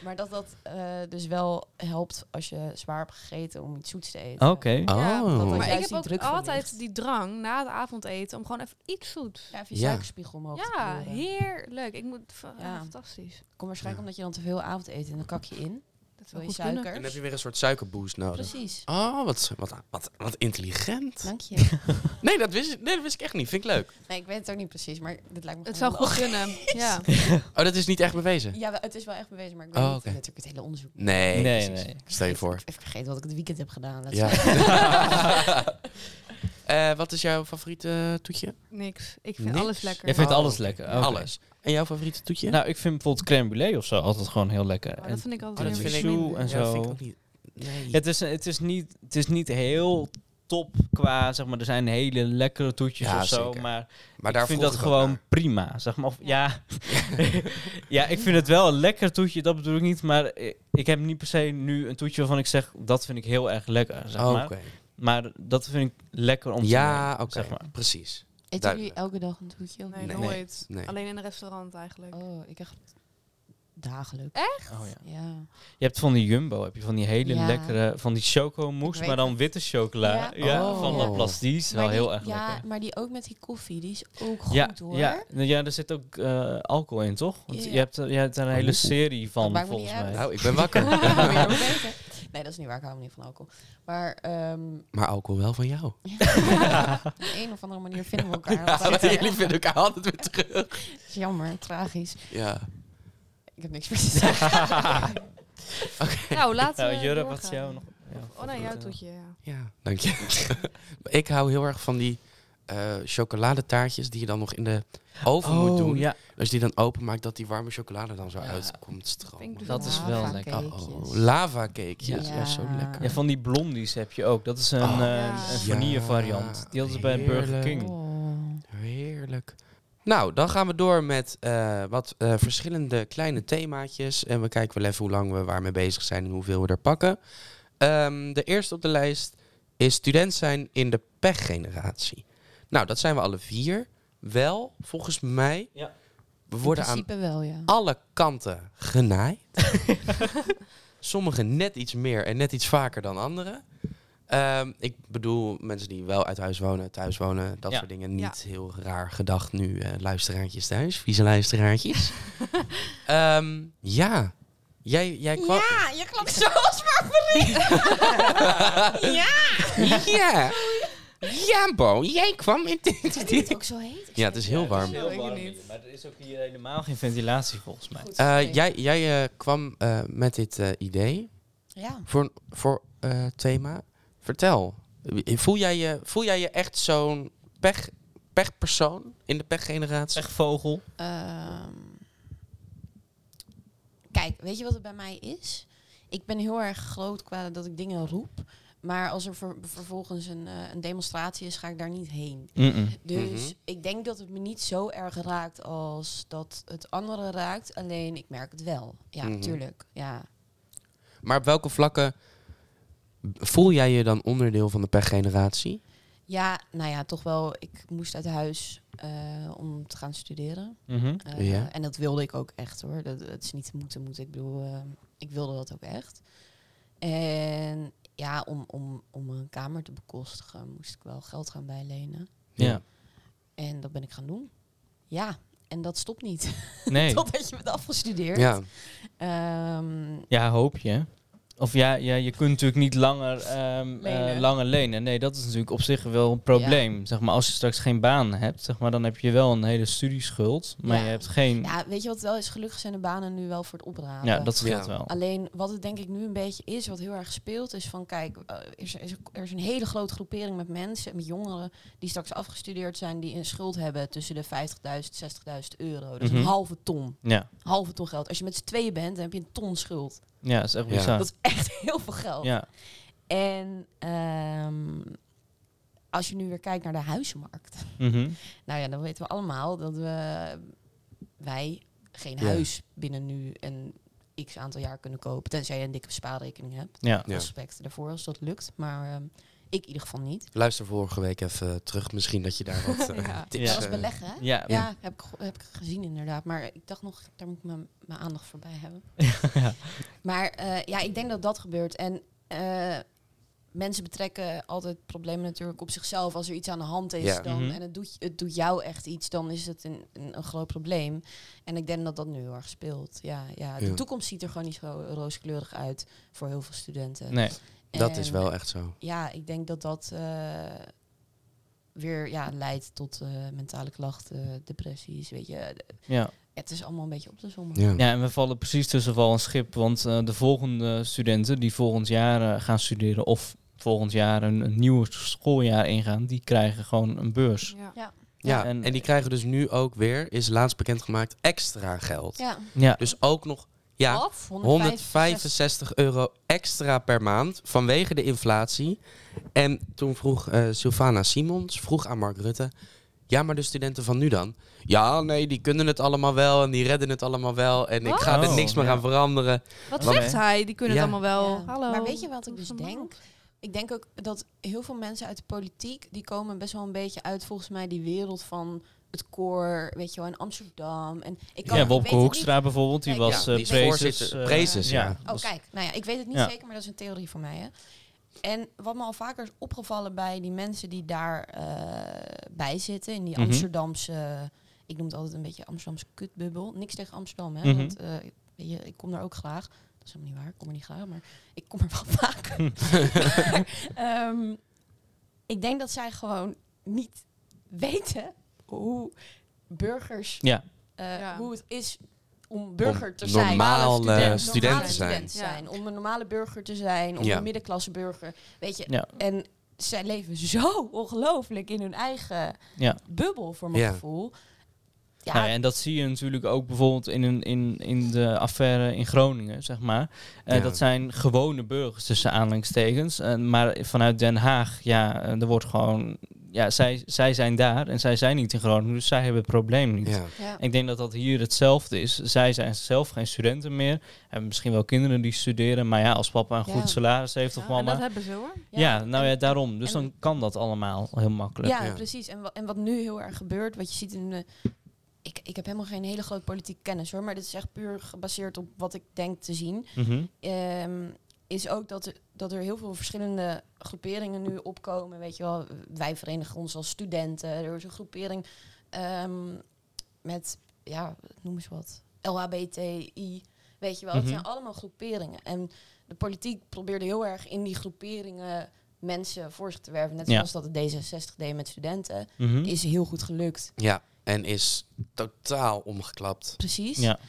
maar dat dat eh, dus wel helpt als je zwaar hebt gegeten om iets zoets te eten. Ah, Oké. Ja, want Oh. dat juist Maar ik heb die ook druk van altijd ligt. die drang na het avondeten om gewoon even iets zoets. Ja, even je Ja. suikerspiegel omhoog te Ja, kleuren. heerlijk. Ik moet, fa- Oh, Ja. fantastisch. Kom waarschijnlijk Ja. omdat je dan te veel avond eet en dan kak je in. Dat Wil zou je goed kunnen. suiker? En dan heb je weer een soort suikerboost nodig. *laughs* Precies. Oh, wat, wat, wat, wat intelligent. Dank je. Nee dat, wist, ik- nee, dat wist ik echt niet. Vind ik leuk. Nee, ik weet het ook niet precies, maar dit lijkt me Het zou gewoon goed *laughs* kunnen. Ja. Oh, dat is niet echt bewezen? *laughs* wel- Ja, wel- het is wel echt bewezen, maar ik weet Oh, niet oké. natuurlijk het hele onderzoek. Nee. nee, precies. nee. Stel je Ik- voor. Ik heb vergeten wat ik het weekend heb gedaan. laat Ja. zeggen. *laughs* Eh, wat is jouw favoriete toetje? Niks. Ik vind Niks? alles lekker. Jij vindt Oh, alles oké. lekker. oké. Alles. En jouw favoriete toetje? Nou, ik vind bijvoorbeeld crème brûlée of zo altijd gewoon heel lekker. Maar En- dat vind ik Oh, altijd dat heel vind ik- minder. en Ja, dat zo. vind ik ook niet. Nee. Ja, het, is, het, is niet, het is niet heel top qua, zeg maar, er zijn hele lekkere toetjes Ja, of zo, zeker. maar maar ik vind vroeg dat ook gewoon naar. prima, zeg maar. Of, ja. ja, ik vind het wel een lekker toetje, dat bedoel ik niet. Maar i- ik heb niet per se nu een toetje waarvan ik zeg, dat vind ik heel erg lekker, zeg maar. Oké. Maar dat vind ik lekker om te Ja, nemen, oké. zeg maar. Precies. Eten jullie Duidelijk. elke dag een toetje? of Nee, Nee. nooit. Nee. Alleen in een restaurant eigenlijk. Oh, ik echt dagelijks. Oh, ja. Ja. Je hebt van die Jumbo, heb je van die hele Ja. lekkere, van die Ik chocomousse, weet maar dan witte chocola. Ja. Ja, Oh. van Ja. La Place, die is wel Maar die- heel erg ja, lekker. maar die ook met die koffie, die is ook goed ja, hoor. Ja, nou ja, er zit ook eh, alcohol in, toch? Want Ja. je, hebt, er- je hebt daar een hele Oh, Oeh. serie Dat van, maakt me volgens niet mij. *laughs* uit. Nou, ik ben wakker. *laughs* *laughs* Moet je ook weten. nee, dat is niet waar. Ik hou niet van alcohol. Maar ehm, maar alcohol wel van jou. op de een of andere manier *laughs* vinden we elkaar. Ja, altijd. eh, want jullie vinden elkaar altijd weer terug. Dat is jammer, tragisch. Ja. Ik heb niks meer te zeggen. Oh. Nou, Oh, laten we nou, Jurre, wat is doorgaan. jou nog? Oh nou nee, jouw eh, toetje, ja. Ja, dank je. *laughs* ik hou heel erg van die eh, chocoladetaartjes die je dan nog in de oven moet doen. Oh, ja. Als je die dan openmaakt, dat die warme chocolade dan zo Ja. uitkomt Vind stromen. ik Dat is wel lekker. Oh, lava cakejes. Ja. Ja. zo lekker. ja, van die blondies heb je ook. Dat is een, Oh. eh, Ja. een vanille variant. Die hadden ze bij Burger Heerlijk. Oh, King. Heerlijk. Nou, dan gaan we door met eh, wat eh, verschillende kleine themaatjes. En we kijken wel even hoe lang we waarmee bezig zijn en hoeveel we er pakken. Ehm, de eerste op de lijst is student zijn in de pechgeneratie. Nou, dat zijn we alle vier. Wel, volgens mij, Ja. we In worden aan principe wel, ja. alle kanten genaaid. Sommigen net iets meer en net iets vaker dan anderen. Ehm, ik bedoel, mensen die wel uit huis wonen, thuis wonen, dat Ja. soort dingen. Niet heel raar gedacht nu, eh, luisteraartjes thuis, vieze *laughs* luisteraartjes. Ehm, ja, jij, jij kwam... Ja, je klopt zoals favoriet. ja. *laughs* ja, ja, Bo, jij kwam met *laughs* dit. Dit ook zo heet. Ik Ja, het is heel warm. heel warm hier, Maar er is ook hier helemaal geen ventilatie, volgens mij. Goed, Eh, oké. jij jij eh, kwam eh, met dit eh, idee. Ja. voor, voor eh, thema. Vertel, voel jij je, voel jij je echt zo'n pech, pechpersoon in de pechgeneratie? Echt vogel. Ehm, kijk, weet je wat het bij mij is? Ik ben heel erg groot qua dat ik dingen roep. Maar als er ver- vervolgens een, eh, een demonstratie is, ga ik daar niet heen. Dus Mhm. ik denk dat het me niet zo erg raakt als dat het anderen raakt. Alleen ik merk het wel. Ja, Mhm. tuurlijk. Ja. Maar op welke vlakken voel jij je dan onderdeel van de pechgeneratie? ja, nou ja, toch wel. Ik moest uit huis eh, om te gaan studeren. Mhm. Eh, Ja. En dat wilde ik ook echt hoor. Dat, het is niet te moeten moeten. Ik bedoel, eh, ik wilde dat ook echt. En ja, om, om, om een kamer te bekostigen moest ik wel geld gaan bijlenen. Ja. En dat ben ik gaan doen. Ja, en dat stopt niet. *laughs* Nee. Totdat je bent afgestudeerd. Ja. Ehm, Ja, hoop je. Of ja, ja je kunt natuurlijk niet langer, ehm, eh, Lenen. langer lenen. Nee, dat is natuurlijk op zich wel een probleem. Zeg maar, als je straks geen baan hebt, zeg maar, dan heb je wel een hele studieschuld. Maar Ja. je hebt geen... Ja, ja, weet je wat het wel is? Gelukkig zijn de banen nu wel voor het oprapen. dat scheelt Ja. wel. Alleen wat het denk ik nu een beetje is, wat heel erg speelt, is van kijk, eh, er is, er is, er is een hele grote groepering met mensen, met jongeren, die straks afgestudeerd zijn, die een schuld hebben tussen de 50.000, 60.000 euro. Dat is een Mhm. halve ton. Ja, Halve ton geld. Als je met z'n tweeën bent, dan heb je een ton schuld. ja dat is echt Ja. bizar. Dat is echt *laughs* heel veel geld. Ja. En ehm, als je nu weer kijkt naar de huizenmarkt. Mhm. Nou ja, dan weten we allemaal dat we, wij geen Ja. huis binnen nu en x aantal jaar kunnen kopen. Tenzij je een dikke spaarrekening hebt ja. Ja. respect daarvoor als dat lukt. Maar ehm, ik in ieder geval niet. Luister vorige week even eh, terug, misschien dat je daar *laughs* wat eh, Ja. tips... Ja. Dat was eh, beleggen, hè? Ja. Ja, heb ik, ge- heb ik gezien inderdaad. Maar ik dacht nog, daar moet ik mijn, mijn aandacht voor bij hebben. *laughs* Ja. Maar eh, ja, ik denk dat dat gebeurt. En eh, mensen betrekken altijd problemen natuurlijk op zichzelf. Als er iets aan de hand is Ja. dan, Mhm. en het doet, het doet jou echt iets, dan is het een, een, een groot probleem. En ik denk dat dat nu heel erg speelt. Ja, ja, de Ja. toekomst ziet er gewoon niet zo rooskleurig uit voor heel veel studenten. Nee. Dat is En wel echt zo. Ja, ik denk dat dat eh, weer ja, leidt tot eh, mentale klachten, depressies, weet je. Ja. Het is allemaal een beetje op te sommen. Ja. ja, en we vallen precies tussen wal en schip. Want eh, de volgende studenten die volgend jaar eh, gaan studeren of volgend jaar een, een nieuw schooljaar ingaan, die krijgen gewoon een beurs. Ja. Ja, en, En- die krijgen dus nu ook weer, is laatst bekendgemaakt, extra geld. Ja. Ja, Dus ook nog, ja, Wat? 165. 165 euro extra per maand vanwege de inflatie. En toen vroeg eh, Sylvana Simons, vroeg aan Mark Rutte... Ja, maar de studenten van nu dan? Ja, nee, die kunnen het allemaal wel en die redden het allemaal wel. En ik ga er Oh, niks meer ja. aan veranderen. Wat Oké. zegt hij? Die kunnen het Ja. allemaal wel. Ja. Hallo. Maar weet je wat ik Doe dus normaal. denk? Ik denk ook dat heel veel mensen uit de politiek, die komen best wel een beetje uit volgens mij die wereld van het koor, weet je wel, in Amsterdam. En ik kan ja ik weet het Wopke niet- Hoekstra bijvoorbeeld, die Kijk, was ja, eh die is prezes. voorzitter. eh, Prezes, ja. Oh, was- kijk. Nou ja, ik weet het niet Ja. zeker, maar dat is een theorie van mij, hè. En wat me al vaker is opgevallen bij die mensen die daar eh, bij zitten, in die Mhm. Amsterdamse, ik noem het altijd een beetje Amsterdamse kutbubbel. Niks tegen Amsterdam, hè, Mhm. want eh, weet je, ik kom daar ook graag. Dat is helemaal niet waar, ik kom er niet graag, maar ik kom er wel *laughs* vaak. Maar, ehm, ik denk dat zij gewoon niet weten hoe burgers, Ja. eh, Ja. hoe het is om burger te Om zijn. normaal, Normale eh, student- student normale te zijn. student Ja. Om een normale burger te zijn, om Ja. een middenklasse burger. Weet je, Ja. en zij leven zo ongelooflijk in hun eigen Ja. bubbel, voor mijn Ja. gevoel. Ja, Nou ja, en dat zie je natuurlijk ook bijvoorbeeld in, een, in, in de affaire in Groningen, zeg maar. Eh, Ja. Dat zijn gewone burgers tussen aanhalingstekens. Eh, maar vanuit Den Haag, ja, eh, er wordt gewoon... Ja, zij, zij zijn daar en zij zijn niet in Groningen, dus zij hebben het probleem niet. Ja. ja. Ik denk dat dat hier hetzelfde is. Zij zijn zelf geen studenten meer. Hebben misschien wel kinderen die studeren. Maar ja, als papa een Ja. goed salaris heeft of Ja, en dat mama... hebben ze hoor. Ja, nou en- ja, daarom. Dus en- dan kan dat allemaal heel makkelijk. Ja, Ja. precies. En, wa- en wat nu heel erg gebeurt, wat je ziet in de. Ik, ik heb helemaal geen hele grote politieke kennis hoor, maar dit is echt puur gebaseerd op wat ik denk te zien. Mhm. Ehm, is ook dat er, dat er heel veel verschillende groeperingen nu opkomen. Weet je wel, wij verenigen ons als studenten. Er is een groepering ehm, met, ja, noem eens wat, LHBTI. Weet je wel, Mhm. het zijn allemaal groeperingen. En de politiek probeerde heel erg in die groeperingen mensen voor zich te werven. Net Ja. zoals dat het D66 deed met studenten. Mhm. Is heel goed gelukt. Ja, en is totaal omgeklapt. Precies. Ja.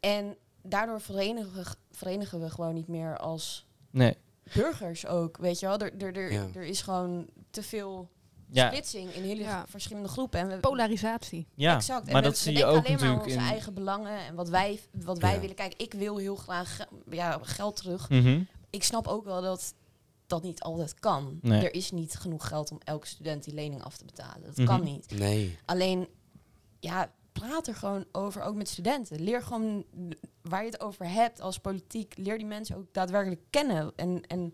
En daardoor verenigen we, verenigen we gewoon niet meer als Nee. burgers ook, weet je wel. Er, er, er, Ja. er is gewoon te veel Ja, splitsing in hele Ja. verschillende groepen. En we, Polarisatie. ja. exact. En maar we- dat we zie je denken ook alleen maar aan natuurlijk onze in... eigen belangen en wat wij, wat wij Ja. willen. Kijk, ik wil heel graag ge- ja, geld terug. Mhm. Ik snap ook wel dat dat niet altijd kan. Nee. Er is niet genoeg geld om elke student die lening af te betalen. Dat Mhm. kan niet. Nee. Alleen, ja, praat er gewoon over, ook met studenten. Leer gewoon waar je het over hebt als politiek. Leer die mensen ook daadwerkelijk kennen. En, en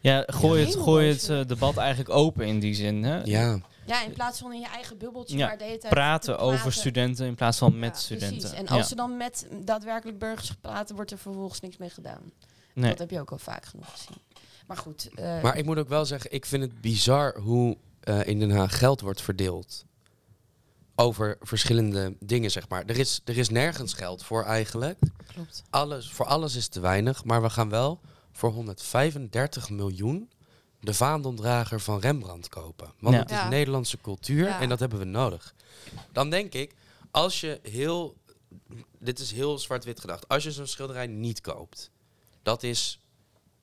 Ja, gooi Ja. het, gooi het eh, debat eigenlijk open in die zin. Hè? Ja, ja, in plaats van in je eigen bubbeltje Ja, maar de hele tijd Praten te over studenten in plaats van met Ja, studenten. Precies. En als ja. ze dan met daadwerkelijk burgers praten, wordt er vervolgens niks mee gedaan. nee. Dat heb je ook al vaak genoeg gezien. Maar goed, eh, maar ik moet ook wel zeggen, ik vind het bizar hoe eh, in Den Haag geld wordt verdeeld. Over verschillende dingen, zeg maar. Er is, er is nergens geld voor eigenlijk. klopt. alles, voor alles is te weinig, maar we gaan wel voor 135 miljoen de vaandeldrager van Rembrandt kopen. Want Ja. het is Ja. Nederlandse cultuur Ja. en dat hebben we nodig. Dan denk ik, als je heel, dit is heel zwart-wit gedacht, als je zo'n schilderij niet koopt, dat is,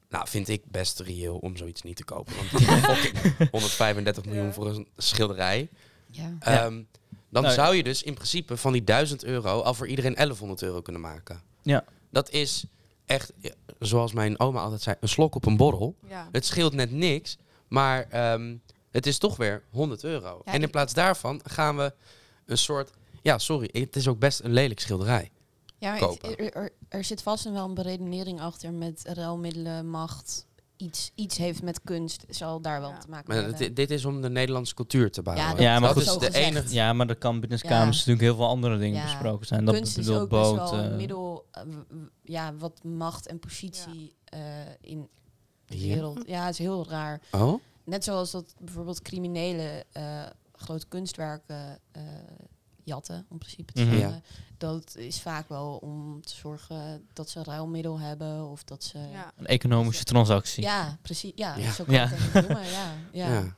nou vind ik best reëel om zoiets niet te kopen. Want *laughs* fucking 135 miljoen Ja. voor een schilderij. Ja. Ja. Ehm, dan Nou ja. zou je dus in principe van die 1000 euro al voor iedereen 1100 euro kunnen maken. Ja. Dat is echt, ja, zoals mijn oma altijd zei, een slok op een borrel. Ja. Het scheelt net niks, maar ehm, het is toch weer 100 euro. Ja, en in ik- plaats daarvan gaan we een soort, ja sorry, het is ook best een lelijk schilderij. Ja, maar het- kopen. er, er, er zit vast wel een beredenering achter met ruilmiddelen, macht. Iets, iets heeft met kunst, zal daar wel Ja. te maken Maar hebben. dit, dit is om de Nederlandse cultuur te bouwen. Ja, dat- Ja, maar dat goed, is zo de gezegd. enige. ja, maar er kan binnen kamers Ja. natuurlijk heel veel andere dingen Ja. besproken zijn. Dat kunst is bedoelt ook best boot. wel een eh, middel, eh, w- w- ja, wat macht en positie eh, in Hier? wereld. Ja, het is heel raar. Oh? Net zoals dat bijvoorbeeld criminelen eh, grote kunstwerken eh, jatten, om principe te Mhm. zeggen. Dat is vaak wel om te zorgen dat ze een ruilmiddel hebben of dat ze... Eh. Ja. Een economische transactie. Ja, precies. Ja, Ja. zo kan je Ja. het eigenlijk noemen, ja. Ja. Ja.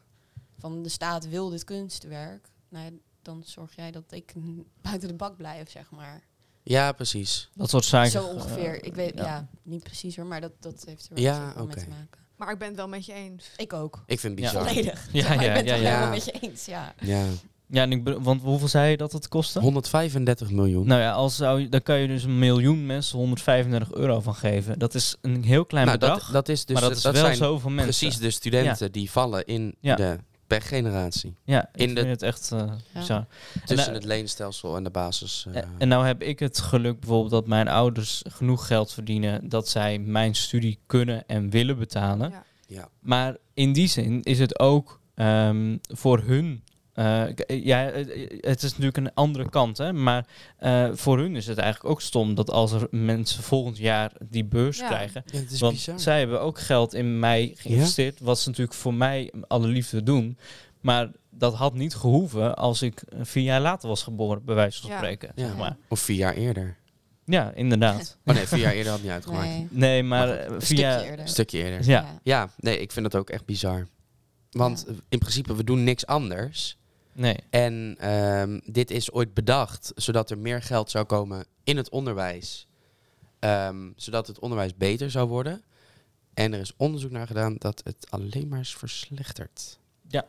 Van de staat wil dit kunstwerk. Nou, ja, dan zorg jij dat ik *laughs* n- buiten de bak blijf, zeg maar. Ja, precies. Dat soort zaken. zo ongeveer. eh, ik weet, ja. ja. niet precies hoor, maar dat, dat heeft er wel Ja, zeker wel mee oké. te maken. Maar ik ben het wel met je eens. Ik ook. Ik vind het Ja. bizar. Volledig. Ja, Maar ik ja, ben het ja, er ja. helemaal ja. met je eens, ja. Ja. ja en ik be- want hoeveel zei je dat het kostte? 135 miljoen. Nou ja, als zou, je- dan kan je dus een miljoen mensen 135 euro van geven. Dat is een heel klein Nou, bedrag, dat, dat is dus maar dat is wel zijn zoveel mensen. precies de studenten die vallen in Ja. de per generatie. Ja, ik in vind de- het echt eh, Ja. bizar. Tussen eh, het leenstelsel en de basis. eh, Eh, En nou heb ik het geluk bijvoorbeeld dat mijn ouders genoeg geld verdienen dat zij mijn studie kunnen en willen betalen. Ja. Ja. Maar in die zin is het ook ehm, voor hun. eh, k- ja, het het is natuurlijk een andere kant, hè? maar eh, voor hun is het eigenlijk ook stom dat als er mensen volgend jaar die beurs Ja. krijgen. ja, het is Want bizar. zij hebben ook geld in mij geïnvesteerd, wat ze natuurlijk voor mij alle liefde doen. Maar dat had niet gehoeven als ik eh, vier jaar later was geboren, bij wijze van Ja. spreken. Ja. Zeg maar. Of vier jaar eerder. Ja, *laughs* inderdaad. Oh nee, vier jaar eerder had *laughs* niet uitgemaakt. Nee. Nee, maar Maar goed, eh, Een stukje via. eerder. Een stukje eerder. Ja, Ja, nee, ik vind dat ook echt bizar. Want eh, in principe, we doen niks anders. nee. En ehm, dit is ooit bedacht zodat er meer geld zou komen in het onderwijs. Ehm, zodat het onderwijs beter zou worden. En er is onderzoek naar gedaan dat het alleen maar is verslechterd. Ja.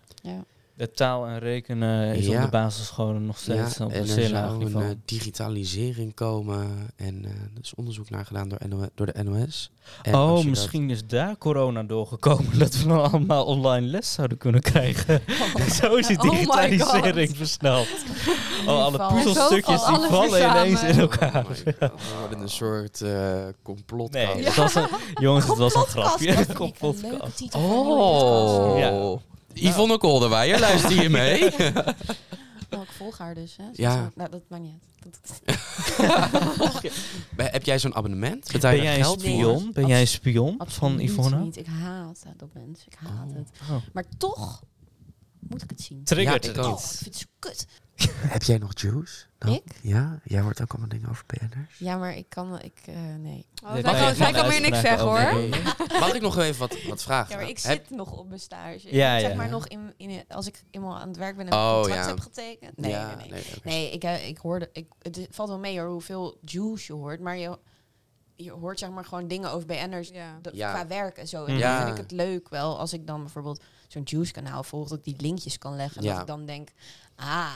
De taal en rekenen is Ja. op de basisscholen nog steeds op en een er zeer laag zou een niveau. eh, digitalisering komen. En eh, er is onderzoek naar gedaan door, NO door de NOS. En als je oh, dat- misschien is daar corona doorgekomen *laughs* dat we nou allemaal online les zouden kunnen krijgen. *laughs* Zo is die Oh my digitalisering God. versneld. Oh, alle Inval. puzzelstukjes Zo valt die alles vallen weer samen. ineens in *laughs* Oh elkaar. my God, we worden een soort eh complot. Nee, Ja. dat was een, jongens, het was een grapje. Podcast, *laughs* dat Kom, vind ik een leuke podcast. titel voor een nieuwe Oh. podcast. Ja. Yvonne Kolderweijer, luister je *laughs* mee? Nou, ik volg haar dus, hè. Ja. Zo- Nou, dat maakt niet uit. Dat- Maar Heb jij zo'n abonnement? Betaal je Ben jij daar een geld voor? spion? Ben jij een spion van Absoluut Ivona? niet. Ik haat dat mensen. Ik haat Oh. het. Oh. Maar toch moet ik het zien. Triggert Ja, ik het ook. Oh, ik niet? vind het zo kut. Heb jij nog juice? Ik? Ja, jij hoort ook allemaal dingen over BN'ers. Ja, maar ik kan... Ik, eh, nee. Oh, Nee, zij nee, kan, nee, zij nee, kan nee, meer niks uitspraken zeggen hoor. over BN'ers. *laughs* Mag ik nog even wat, wat vragen? Ja, maar ik zit Heb- nog op mijn stage. Ik Ja, heb, zeg ja. maar nog in, in... Als ik eenmaal aan het werk ben en Oh, een contract ja. heb getekend. Nee, Ja, nee, nee. oké. Nee, ik, eh, ik hoorde... Ik, het is- valt wel mee hoor, hoeveel juice je hoort. Maar je, je hoort zeg maar gewoon dingen over BN'ers Ja. dat- Ja. qua werk en zo. En Ja. dan vind ik het leuk wel als ik dan bijvoorbeeld zo'n juice kanaal volg, dat ik die linkjes kan leggen. En Ja. dat ik dan denk, ah,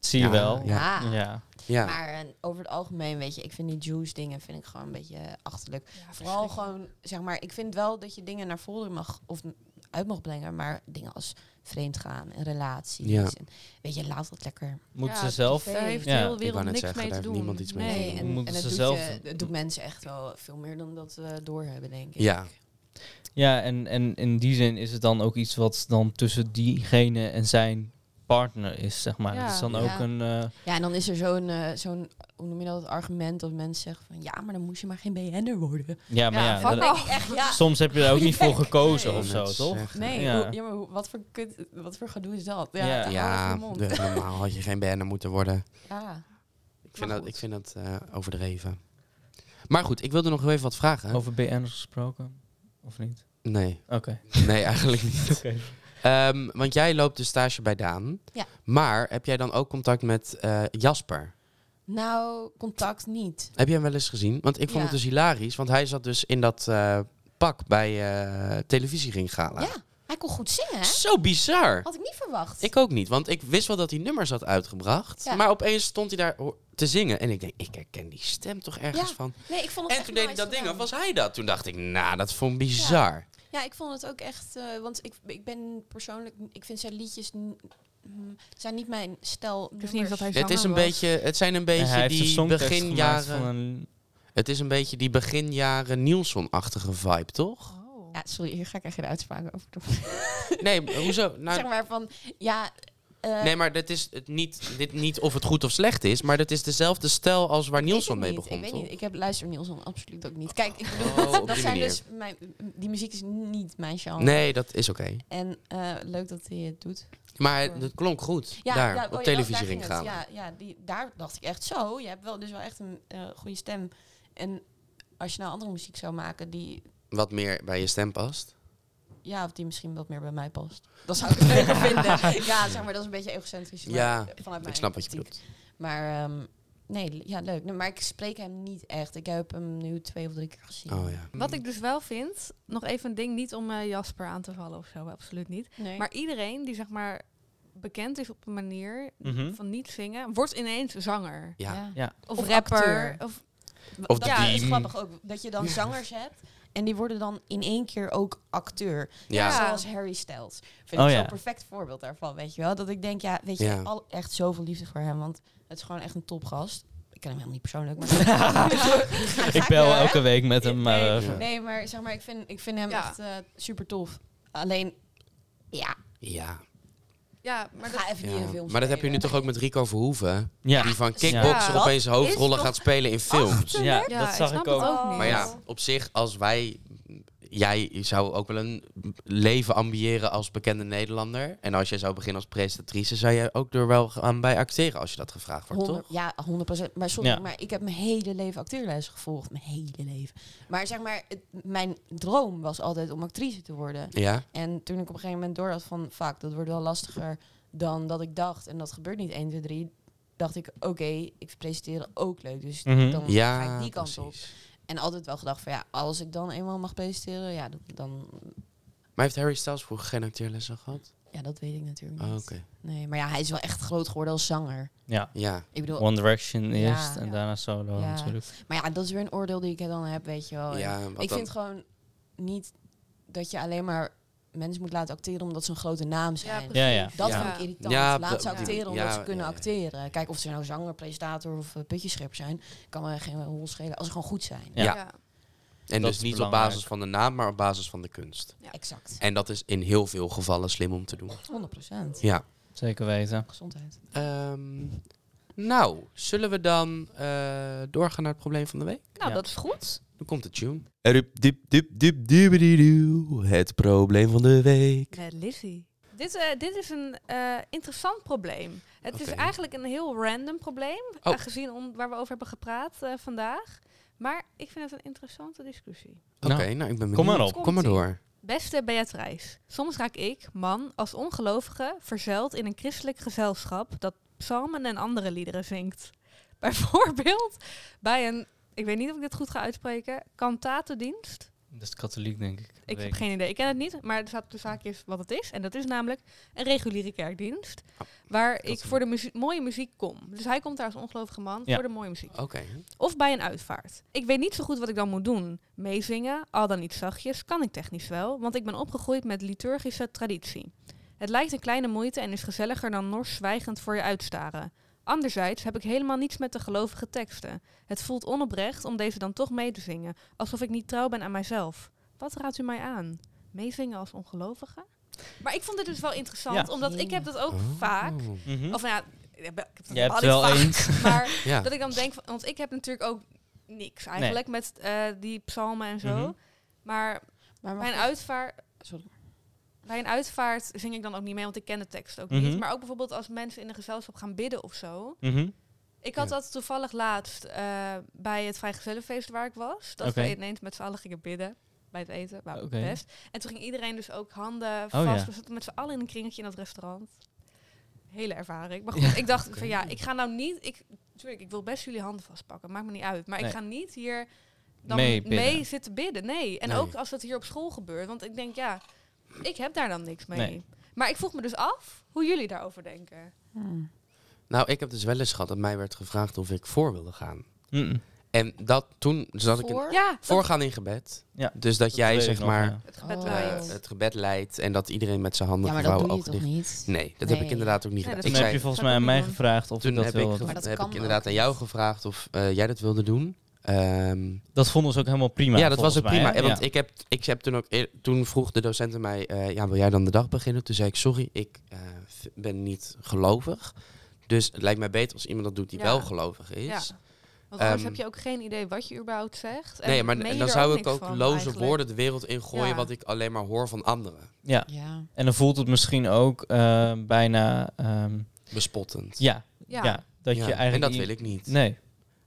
Zie je Ja, wel. ja. Ja. Ja. Maar eh, over het algemeen, weet je, ik vind die juice dingen vind ik gewoon een beetje eh, achterlijk. Ja, Vooral gewoon, zeg maar, ik vind wel dat je dingen naar voren mag of n- uit mag brengen, maar dingen als vreemdgaan en relaties. Ja. en- weet je, laat dat lekker. Moeten Ja, ze zelf... Daar heeft Ja. de hele Ik wou wereld net niks zeggen, mee daar te heeft doen. niemand iets mee te Nee, doen. en, Moeten en dat, ze doet zelf- je- dat doet mensen echt wel veel meer dan dat we doorhebben, denk ik. Ja. Ja, en, en in die zin is het dan ook iets wat dan tussen diegene en zijn partner is, zeg maar. Ja. Het is dan Ja. ook een... eh, Ja, en dan is er zo'n, eh, zo'n hoe noem je dat, argument dat mensen zeggen van, ja, maar dan moest je maar geen BN'er worden. ja, maar ja, fuck dat- Dan denk ik echt, ja, soms heb je daar ook niet voor gekozen Nee. of zo, toch? nee, Ja. hoe- ja, maar hoe- wat voor, kut, wat voor gedoe is dat? Ja. Ja, Ja, ja. Mond. de- normaal had je geen BN'er moeten *laughs* worden. ja. Ik vind Maar dat, goed. ik vind dat eh, overdreven. Maar goed, ik wilde nog even wat vragen. Over BN'ers gesproken, of niet? Nee, Oké. nee, eigenlijk *laughs* niet. Ehm, want jij loopt de stage bij Daan. Ja. Maar heb jij dan ook contact met eh, Jasper? Nou, contact niet. Heb jij hem wel eens gezien? Want ik vond Ja. het dus hilarisch. Want hij zat dus in dat eh, pak bij eh televisiering gala. Ja, hij kon goed zingen, hè? Zo bizar. Had ik niet verwacht. Ik ook niet. Want ik wist wel dat hij nummers had uitgebracht. Ja. Maar opeens stond hij daar ho- te zingen. En ik denk, ik herken die stem toch ergens Ja. van. nee, ik vond het En echt toen deed hij nice dat ding af. gedaan. Was hij dat? Toen dacht ik, nou, dat vond ik bizar. Ja, ik vond het ook echt... eh, want ik, ik ben persoonlijk... Ik vind zijn liedjes... n- mm, zijn niet mijn stijl. Ik wist niet eens dat hij Het, is een zanger was. beetje, het zijn een En hij beetje heeft een die songtekst gemaakt beginjaren... van een... Het is een beetje die beginjaren Nielsen-achtige vibe, toch? *laughs* Oh. Ja, sorry, hier ga ik echt geen uitspraken over doen. *laughs* Nee, hoezo? Nou, zeg maar van... Ja, eh, Nee, maar dit is het niet, dit niet of het goed of slecht is, maar dat is dezelfde stijl als waar ik weet Nielsen het mee niet. begon. Ik weet toch? niet. Ik heb luister Nielsen absoluut ook niet. Kijk, ik bedoel, Oh, *laughs* dat- op dat die zijn manier. dus Oh. mijn, die muziek is niet mijn genre. Nee, dat is oké. En eh, leuk dat hij het doet. Maar het klonk goed. daar, ja, oh ja, op dat- daar televisie ging ging gaan. het. Ja, ja die, daar dacht ik echt zo. Je hebt wel dus wel echt een eh, goede stem. En als je nou andere muziek zou maken die, Wat meer bij je stem past. ja, of die misschien wat meer bij mij past, dan zou ik het *laughs* leuker vinden. Ja, zeg maar, dat is een beetje egocentrisch. maar Ja, vanuit mijn ik snap wat je optiek. bedoelt. Maar ehm, nee, l- ja, leuk. Nee, maar ik spreek hem niet echt. Ik heb hem nu twee of drie keer gezien. Oh ja. Wat ik dus wel vind, nog even een ding, niet om eh, Jasper aan te vallen of zo, absoluut niet. Nee. Maar iedereen die zeg maar bekend is op een manier Mhm. van niet zingen, wordt ineens zanger. Ja. Of, Of rapper. acteur. Of, Of ja, die- is grappig ook dat je dan zangers hebt en die worden dan in één keer ook acteur. Ja. Ja. Zoals Harry Styles. Vind Oh ik ja. zo'n perfect voorbeeld daarvan, weet je wel. Dat ik denk, ja, weet je, Ja. al echt zoveel liefde voor hem. Want het is gewoon echt een topgast. Ik ken hem helemaal niet persoonlijk, maar... *laughs* Ik bel elke week met hem. Nee, eh, Ja. nee, maar zeg maar, ik vind, ik vind hem Ja. echt eh, super tof. Alleen, ja, Ja. ja, maar dat, ga even Ja. niet in films Maar dat heb je nu toch ook met Rico Verhoeven? Ja, Die van Ja. kickboxer Ja. opeens hoofdrollen toch gaat spelen in films. ja, ja, dat zag ik snap ook. het Oh. niet. Maar ja, op zich, als wij... Jij zou ook wel een leven ambiëren als bekende Nederlander. En als jij zou beginnen als presentatrice, zou jij ook er wel aan bij acteren als je dat gevraagd wordt, Honderd- toch? ja, 100%. Maar sorry, Ja. maar ik heb mijn hele leven acteurles gevolgd. Mijn hele leven. Maar zeg maar, het- mijn droom was altijd om actrice te worden. Ja. En toen ik op een gegeven moment door had van... vaak dat wordt wel lastiger dan dat ik dacht. En dat gebeurt niet 1, 2, 3. Dacht ik, oké, ik presenteren ook leuk. Dus Mhm. dan Ja, ga ik die kant op. precies. En altijd wel gedacht van... ja, als ik dan eenmaal mag presenteren... ja, dat, dan... Maar heeft Harry Styles vroeger geen acteerlessen gehad? Ja, dat weet ik natuurlijk niet. Oh, Oké. Nee, maar ja, hij is wel echt groot geworden als zanger. ja. Ja. Ik bedoel... One Direction Ja. eerst en Ja. daarna solo Ja. natuurlijk. Maar ja, dat is weer een oordeel die ik dan heb, weet je wel. En ja wat Oh, ik dan? vind gewoon niet dat je alleen maar mensen moet laten acteren... omdat ze een grote naam zijn. precies. Ja, ja. Dat Ja. vind ik irritant. Ja, op Laat ze die acteren manier. omdat Ja, ze kunnen ja, ja. acteren. Kijk, of ze nou zanger, presentator of eh, putjeschip zijn, kan me geen rol schelen. Als ze gewoon goed zijn. Ja. Ja. En Dat dus is niet op belangrijk. basis van de naam, maar op basis van de kunst. Ja. Exact. En dat is in heel veel gevallen slim om te doen. 100 procent. Ja. Zeker weten. Gezondheid. Ehm, nou, zullen we dan eh, doorgaan naar het probleem van de week? Nou, Ja. dat is goed. Dan komt de tune. Het probleem van de week. Met Lizzie. Dit, eh, dit is een eh, interessant probleem. Het is Oké. eigenlijk een heel random probleem, Oh. aangezien on- waar we over hebben gepraat eh, vandaag. Maar ik vind het een interessante discussie. Oké, Nou, nou ik ben benieuwd. kom maar op. Kom maar door. Beste Beatrice, soms raak ik, man, als ongelovige, verzeild in een christelijk gezelschap dat psalmen en andere liederen zingt. Bijvoorbeeld bij een, ik weet niet of ik dit goed ga uitspreken, kantatendienst. Dat is katholiek, denk ik. Ik Weet heb geen idee, ik ken het niet, maar de zaak- de zaak is wat het is. En dat is namelijk een reguliere kerkdienst, waar ik is een- voor de muzie- mooie muziek kom. Dus hij komt daar als ongelovige man Ja. voor de mooie muziek. Oké. Of bij een uitvaart. Ik weet niet zo goed wat ik dan moet doen. Meezingen, al dan niet zachtjes, kan ik technisch wel, want ik ben opgegroeid met liturgische traditie. Het lijkt een kleine moeite en is gezelliger dan nors zwijgend voor je uitstaren. Anderzijds heb ik helemaal niets met de gelovige teksten. Het voelt onoprecht om deze dan toch mee te zingen, alsof ik niet trouw ben aan mijzelf. Wat raadt u mij aan? Meezingen als ongelovige? Maar ik vond dit dus wel interessant, Ja. omdat ik heb dat ook Oh. vaak. Mhm. Of nou ja, ik heb dat Je hebt helemaal wel niet vaak, eens. Maar Ja. dat ik dan denk, van- want ik heb natuurlijk ook niks eigenlijk met eh, die psalmen en zo. Mhm. Maar Maar mag bij een, ik- uitvaart, Sorry. bij een uitvaart zing ik dan ook niet mee, want ik ken de tekst ook Mhm. niet. Maar ook bijvoorbeeld als mensen in een gezelschap gaan bidden of zo. Mhm. Ik had Ja. dat toevallig laatst eh, bij het Vrijgezellenfeest waar ik was. Dat Oké. we ineens met z'n allen gingen bidden bij het eten. Wauw, Oké. Oh, best. En toen ging iedereen dus ook handen vast. ja. We zaten met z'n allen in een kringetje in dat restaurant. Hele *laughs* ervaring. Maar goed, ik dacht Oké. van ja, ik ga nou niet... Ik, tuurlijk, ik wil best jullie handen vastpakken. Maakt me niet uit. Maar Nee. ik ga niet hier dan Mee mee, bidden. zitten bidden. Nee. En Nee. ook als dat hier op school gebeurt. Want ik denk, ja, ik heb daar dan niks mee. Nee. Maar ik vroeg me dus af hoe jullie daarover denken. Hmm. Nou, ik heb dus wel eens gehad dat mij werd gevraagd of ik voor wilde gaan. Mhm. En dat toen zat ik in Voor? Ja, dat- Voorgaan in gebed. Ja, Dus dat, jij weet ik zeg nog, maar ja. het gebed Oh. eh, leidt. het gebed leidt en dat iedereen met zijn handen Ja, maar dat gevouwen doe je ogen toch dicht. niet? Nee, dat heb ik Nee. inderdaad ook niet Nee, gedaan. dat Ik Toen is- zei, heb je volgens mij Zou ik aan ook mij doen. gevraagd of toen ik dat heb ik, wilde. gev- Maar dat heb kan ik inderdaad ook aan jou niet. gevraagd of eh, jij dat wilde doen. Eh, Ehm, Dat vonden ze ook helemaal prima. ja, dat was ook volgens prima. Eh, mij, hè? want Ja. ik, heb, ik heb toen ook eer- toen vroeg de docent aan mij, eh, ja, wil jij dan de dag beginnen? Toen zei ik, sorry, ik eh, v- ben niet gelovig. Dus het lijkt mij beter als iemand dat doet die Ja. wel gelovig is. Ja. Want anders Ehm, heb je ook geen idee wat je überhaupt zegt. En Nee, maar meen je n- dan er zou ik niks ook van, loze eigenlijk. woorden de wereld ingooien Ja. wat ik alleen maar hoor van anderen. ja. Ja. En dan voelt het misschien ook eh, bijna. ehm, Bespottend. ja, ja. Ja. dat Ja, je eigenlijk. en dat niet- wil ik niet. Nee.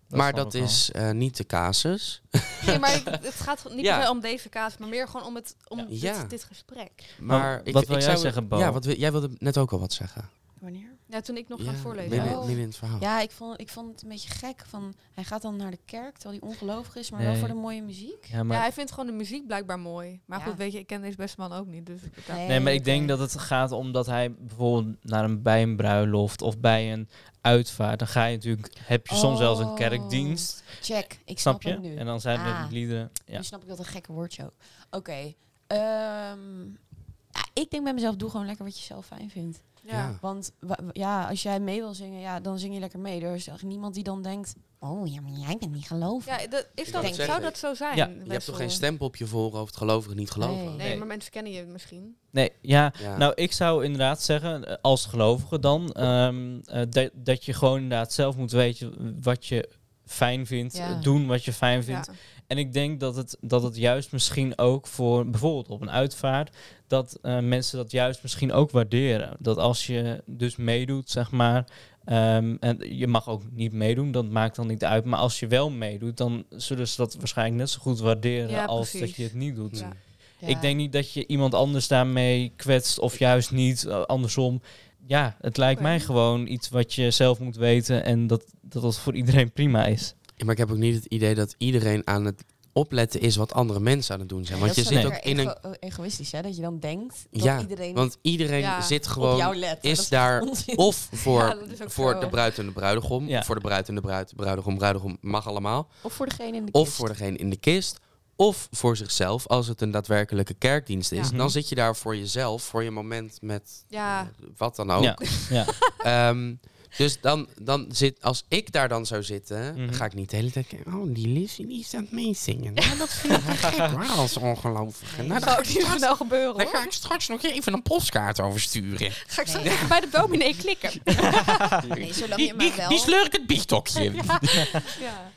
maar snap dat ik wel. is eh, niet de casus. Nee, maar ik- het gaat niet Ja. per se om deze kaas, maar meer gewoon om, het, om Ja. dit, Ja. dit gesprek. Maar ik, wat ik wil jij zou, zeggen, Bo? Ja, wat wil- jij wilde net ook al wat zeggen. Wanneer? Ja, toen ik nog ja, aan het voorlezen Midden, was. Oh. midden in het verhaal. Ja, ik vond, ik vond het een beetje gek. Van, hij gaat dan naar de kerk, terwijl hij ongelovig is, maar wel Nee. voor de mooie muziek. Ja, Ja, maar, hij vindt gewoon de muziek blijkbaar mooi. Maar Ja. goed, weet je, ik ken deze beste man ook niet. Dus ik- ja. nee, maar ik oké. denk dat het gaat om dat hij bijvoorbeeld naar een, bij een bruiloft of bij een uitvaart. Dan ga je natuurlijk. Heb je soms wel eens een Oh, kerkdienst. Check, ik Snap snap, je? het nu. En dan zijn er Ah. die liederen. Ja. Nu snap ik dat een gekke woordje ook. Oké. ehm, ja, ik denk bij mezelf, doe gewoon lekker wat je zelf fijn vindt. Ja. Want wa- wa- ja, als jij mee wil zingen, ja, dan zing je lekker mee. Er is echt niemand die dan denkt, oh ja, maar jij bent niet gelovig. Ja, dat, is wou dat, het zeggen. zou dat zo zijn? Ja. Je hebt Wessel? toch geen stempel op je voorhoofd, gelovig, niet gelovig? Nee. Nee, Nee. maar mensen kennen je misschien. Nee, ja. Ja. Nou, ik zou inderdaad zeggen, eh, als gelovige dan, ehm, eh, dat, dat je gewoon inderdaad zelf moet weten wat je fijn vindt, Ja. eh, doen wat je fijn Ja. vindt. En ik denk dat het, dat het juist misschien ook voor bijvoorbeeld op een uitvaart, dat eh, mensen dat juist misschien ook waarderen. Dat als je dus meedoet, zeg maar, ehm, en je mag ook niet meedoen, dat maakt dan niet uit. Maar als je wel meedoet, dan zullen ze dat waarschijnlijk net zo goed waarderen Ja, als precies. dat je het niet doet. Hm. Ja. Ja. Ik denk niet dat je iemand anders daarmee kwetst of juist niet, eh, andersom. Ja, het lijkt Oké. mij gewoon iets wat je zelf moet weten en dat dat, dat voor iedereen prima is. Ja, maar ik heb ook niet het idee dat iedereen aan het opletten is wat andere mensen aan het doen zijn. Nee, Want je dat zit is Nee. ook lekker in een. ego- eh, egoïstisch, hè? Dat je dan denkt dat Ja, iedereen Want iedereen Ja, zit op jou gewoon. let. Is Dat daar *laughs* onzin. *laughs* of voor, Ja, dat is ook voor zo. de bruid en de bruidegom. Ja. Voor de bruid en de bruid, bruidegom, bruidegom mag allemaal. Of voor degene in de Of kist. voor degene in de kist. Of voor zichzelf, als het een daadwerkelijke kerkdienst is. Ja. Dan zit je daar voor jezelf, voor je moment met Ja. eh, wat dan ook. Ja, ja. Ehm, dus dan, dan zit, als ik daar dan zou zitten, Mhm. ga ik niet de hele tijd kijken. Oh, die Liz die is aan het meezingen. Nou, dat vind ik wel *laughs* gek hoor, als ongelovige. Nou, Nee. daar, ga Zou ik ook niet zo straks, snel gebeuren daar hoor. ga ik straks nog even een postkaart over sturen. Ga ik zo Nee. even *laughs* bij de dominee klikken. Nee, zolang Die, je die, maar wel... die sleur ik het biefstokje in. ja.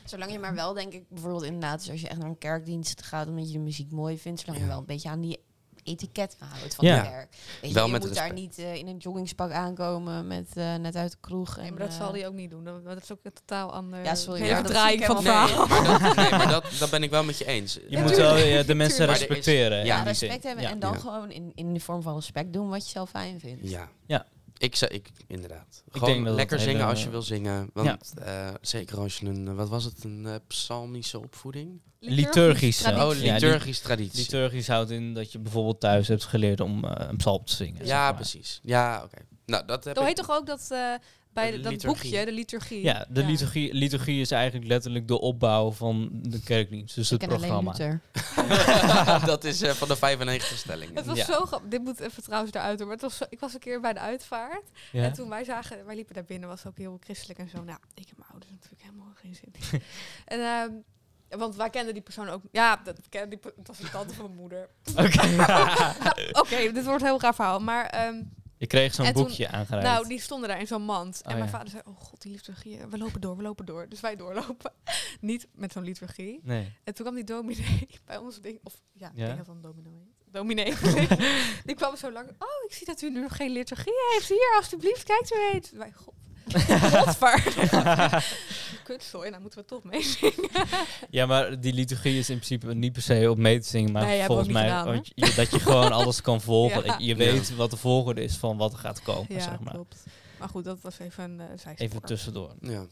Zolang je maar wel, denk ik, bijvoorbeeld inderdaad, dus als je echt naar een kerkdienst gaat omdat je de muziek mooi vindt, zolang Ja. je wel een beetje aan die etiket houdt van Ja. de kerk. Weet je, Wel je met moet daar respect. niet eh, in een joggingspak aankomen met eh, net uit de kroeg. En, Nee, maar dat eh, zal hij ook niet doen. Dat dat is ook een totaal ander. Ja, sorry, hele ja, dat verdraaiing zie ik van het Nee, verhaal. maar, dat, nee, maar dat, dat ben ik wel met je eens. Je Ja, moet tuurlijk. wel eh, de mensen Tuurlijk. Maar er is- respecteren. in ja. Ja, die respect zin. hebben Ja. en dan Ja. gewoon in, in de vorm van respect doen wat je zelf fijn vindt. Ja. Ja. Ik zou, ik, inderdaad. denk Gewoon dat dat lekker hele- zingen als je wil zingen. Want eh, zeker als je een, eh, wat was het, een eh, psalmische opvoeding? Liturgisch. Traditie. Oh, Ja, die- liturgisch traditie. Liturgisch houdt in dat je bijvoorbeeld thuis hebt geleerd om eh, een psalm te zingen. zeg ja, maar. precies. Ja, oké. Nou, dat heb Dat ik- heet toch ook dat, eh, bij De de- dat liturgie. boekje, de liturgie. Ja, de liturgie, liturgie is eigenlijk letterlijk de opbouw van de kerkdienst, dus Ik het ken alleen programma. Luther. *laughs* dat is eh, van de 95 stellingen. *laughs* Het was Ja. zo grappig. Dit moet even trouwens eruit hoor. Maar het was zo- ik was een keer bij de uitvaart. Ja. En toen wij zagen, wij liepen daar binnen, was ook heel christelijk en zo. Nou, ik heb mijn ouders natuurlijk helemaal geen zin *laughs* in. en, ehm, want wij kenden die persoon ook. Ja, dat, ik kende die, per- het was een tante van mijn *laughs* moeder. Oké. Nou, Oké, dit wordt een heel raar verhaal. Maar ehm, Ik kreeg zo'n En toen- boekje aangereikt. nou, die stonden daar in zo'n mand. Oh, en mijn ja. vader zei, oh god, die liturgie. We lopen door, we lopen door. Dus wij doorlopen. *laughs* Niet met zo'n liturgie. Nee. *laughs* En toen kwam die dominee *laughs* bij ons ding. Of ja, ik Ja? denk dat het een dominee heet. Dominee. *laughs* die kwam zo lang. Oh, ik zie dat u nu nog geen liturgie heeft. Hier, alstublieft, kijkt u eens. Wij, *laughs* god. Godver. *laughs* Kutzooi, nou moeten we toch mee zingen. Ja, maar die liturgie is in principe niet per se op mee te zingen, maar Nee, hebben we volgens ook mij niet gedaan, want je- dat je gewoon alles kan volgen. Ja. Dat Je weet wat de volgorde is van wat er gaat komen, zeg maar. klopt. Maar goed, dat was even een eh, zijspoor. Even tussendoor. Ja.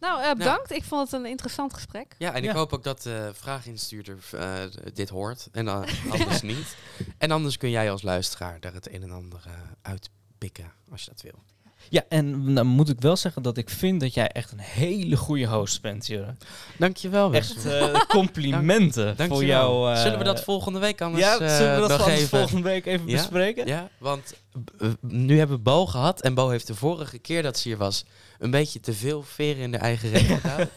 Nou, eh, bedankt. Ik vond het een interessant gesprek. ja, en ik Ja. hoop ook dat de vraaginstuurder eh, dit hoort en dan *laughs* anders niet. En anders kun jij als luisteraar daar het een en ander eh, uitpikken als je dat wil. Ja, en dan moet ik wel zeggen dat ik vind dat jij echt een hele goede host bent, Jure. Dankjewel, Echt *laughs* eh, complimenten voor jouw... eh, Zullen we dat volgende week anders Ja, eh, zullen we dat nog anders even... volgende week even Ja? bespreken? Ja, want eh, nu hebben we Bo gehad. En Bo heeft de vorige keer dat ze hier was een beetje te veel veren in de *laughs* eigen reet gedaan.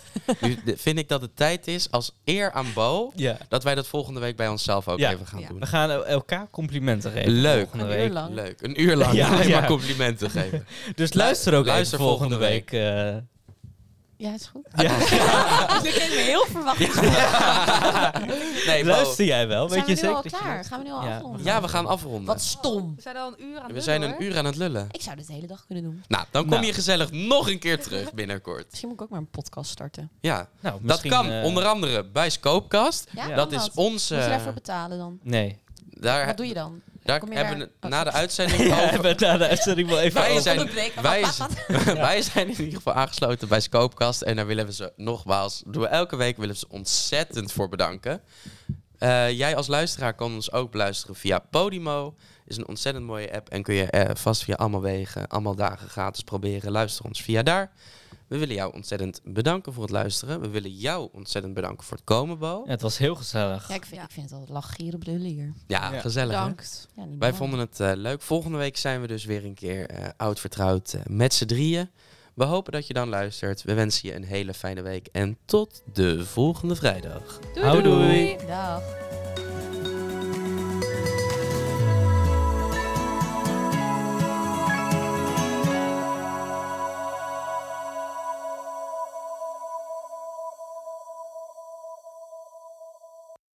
Nu de- vind ik dat het tijd is, als eer aan Bo, Ja. dat wij dat volgende week bij onszelf ook Ja. even gaan Ja. doen. We gaan el- elkaar complimenten geven. Leuk. volgende Een uur week. lang. Leuk, een uur lang Ja, alleen ja. maar complimenten geven. Dus luister ook Luister even volgende, volgende week. Ah, eh. Ja, is goed. ja. *laughs* Ik kreeg me heel verwacht. Nee, Bo. luister jij wel? Zijn Weet we je nu zeker? al dat je klaar? dat- Gaan we nu al Ja. afronden? Ja, we gaan afronden. Wat stom. Oh, We zijn al een uur aan het We zijn lullen, een hoor. uur aan het lullen. Ik zou dit de hele dag kunnen doen. Nou, dan kom Nou. je gezellig nog een keer terug binnenkort. Misschien moet ik ook maar een podcast starten. Ja, Nou, dat misschien, kan eh, onder andere bij Scoopcast. Ja, Ja. Dat kan is onze... Moet je daarvoor betalen dan? Nee. Daar, Wat doe je dan? daar Kom je hebben we daar- het oh, na de sorry. uitzending *laughs* Ja, nou, over. hebben we het na de uitzending wel even Wij over. zijn- Oh. Onderbreken. *laughs* wij Wat, z- *laughs* wat, wat? Wij zijn in ieder geval aangesloten bij Scoopcast. En daar willen we ze nogmaals, doen we elke week, willen we ze ontzettend voor bedanken. Eh, jij als luisteraar kan ons ook beluisteren via Podimo. Is een ontzettend mooie app en kun je eh, vast via allemaal wegen, allemaal dagen gratis proberen. Luister ons via daar. We willen jou ontzettend bedanken voor het luisteren. We willen jou ontzettend bedanken voor het komen, Bo. Ja, het was heel gezellig. Ja, ik vind, Ja. ik vind het altijd lachgieren brullen hier. Ja, Ja. gezellig. hè? Bedankt. Ja, niet Wij normaal. vonden het eh, leuk. Volgende week zijn we dus weer een keer eh, oud vertrouwd eh, met z'n drieën. We hopen dat je dan luistert. We wensen je een hele fijne week en tot de volgende vrijdag. Doei, Houdoe. doei. Dag.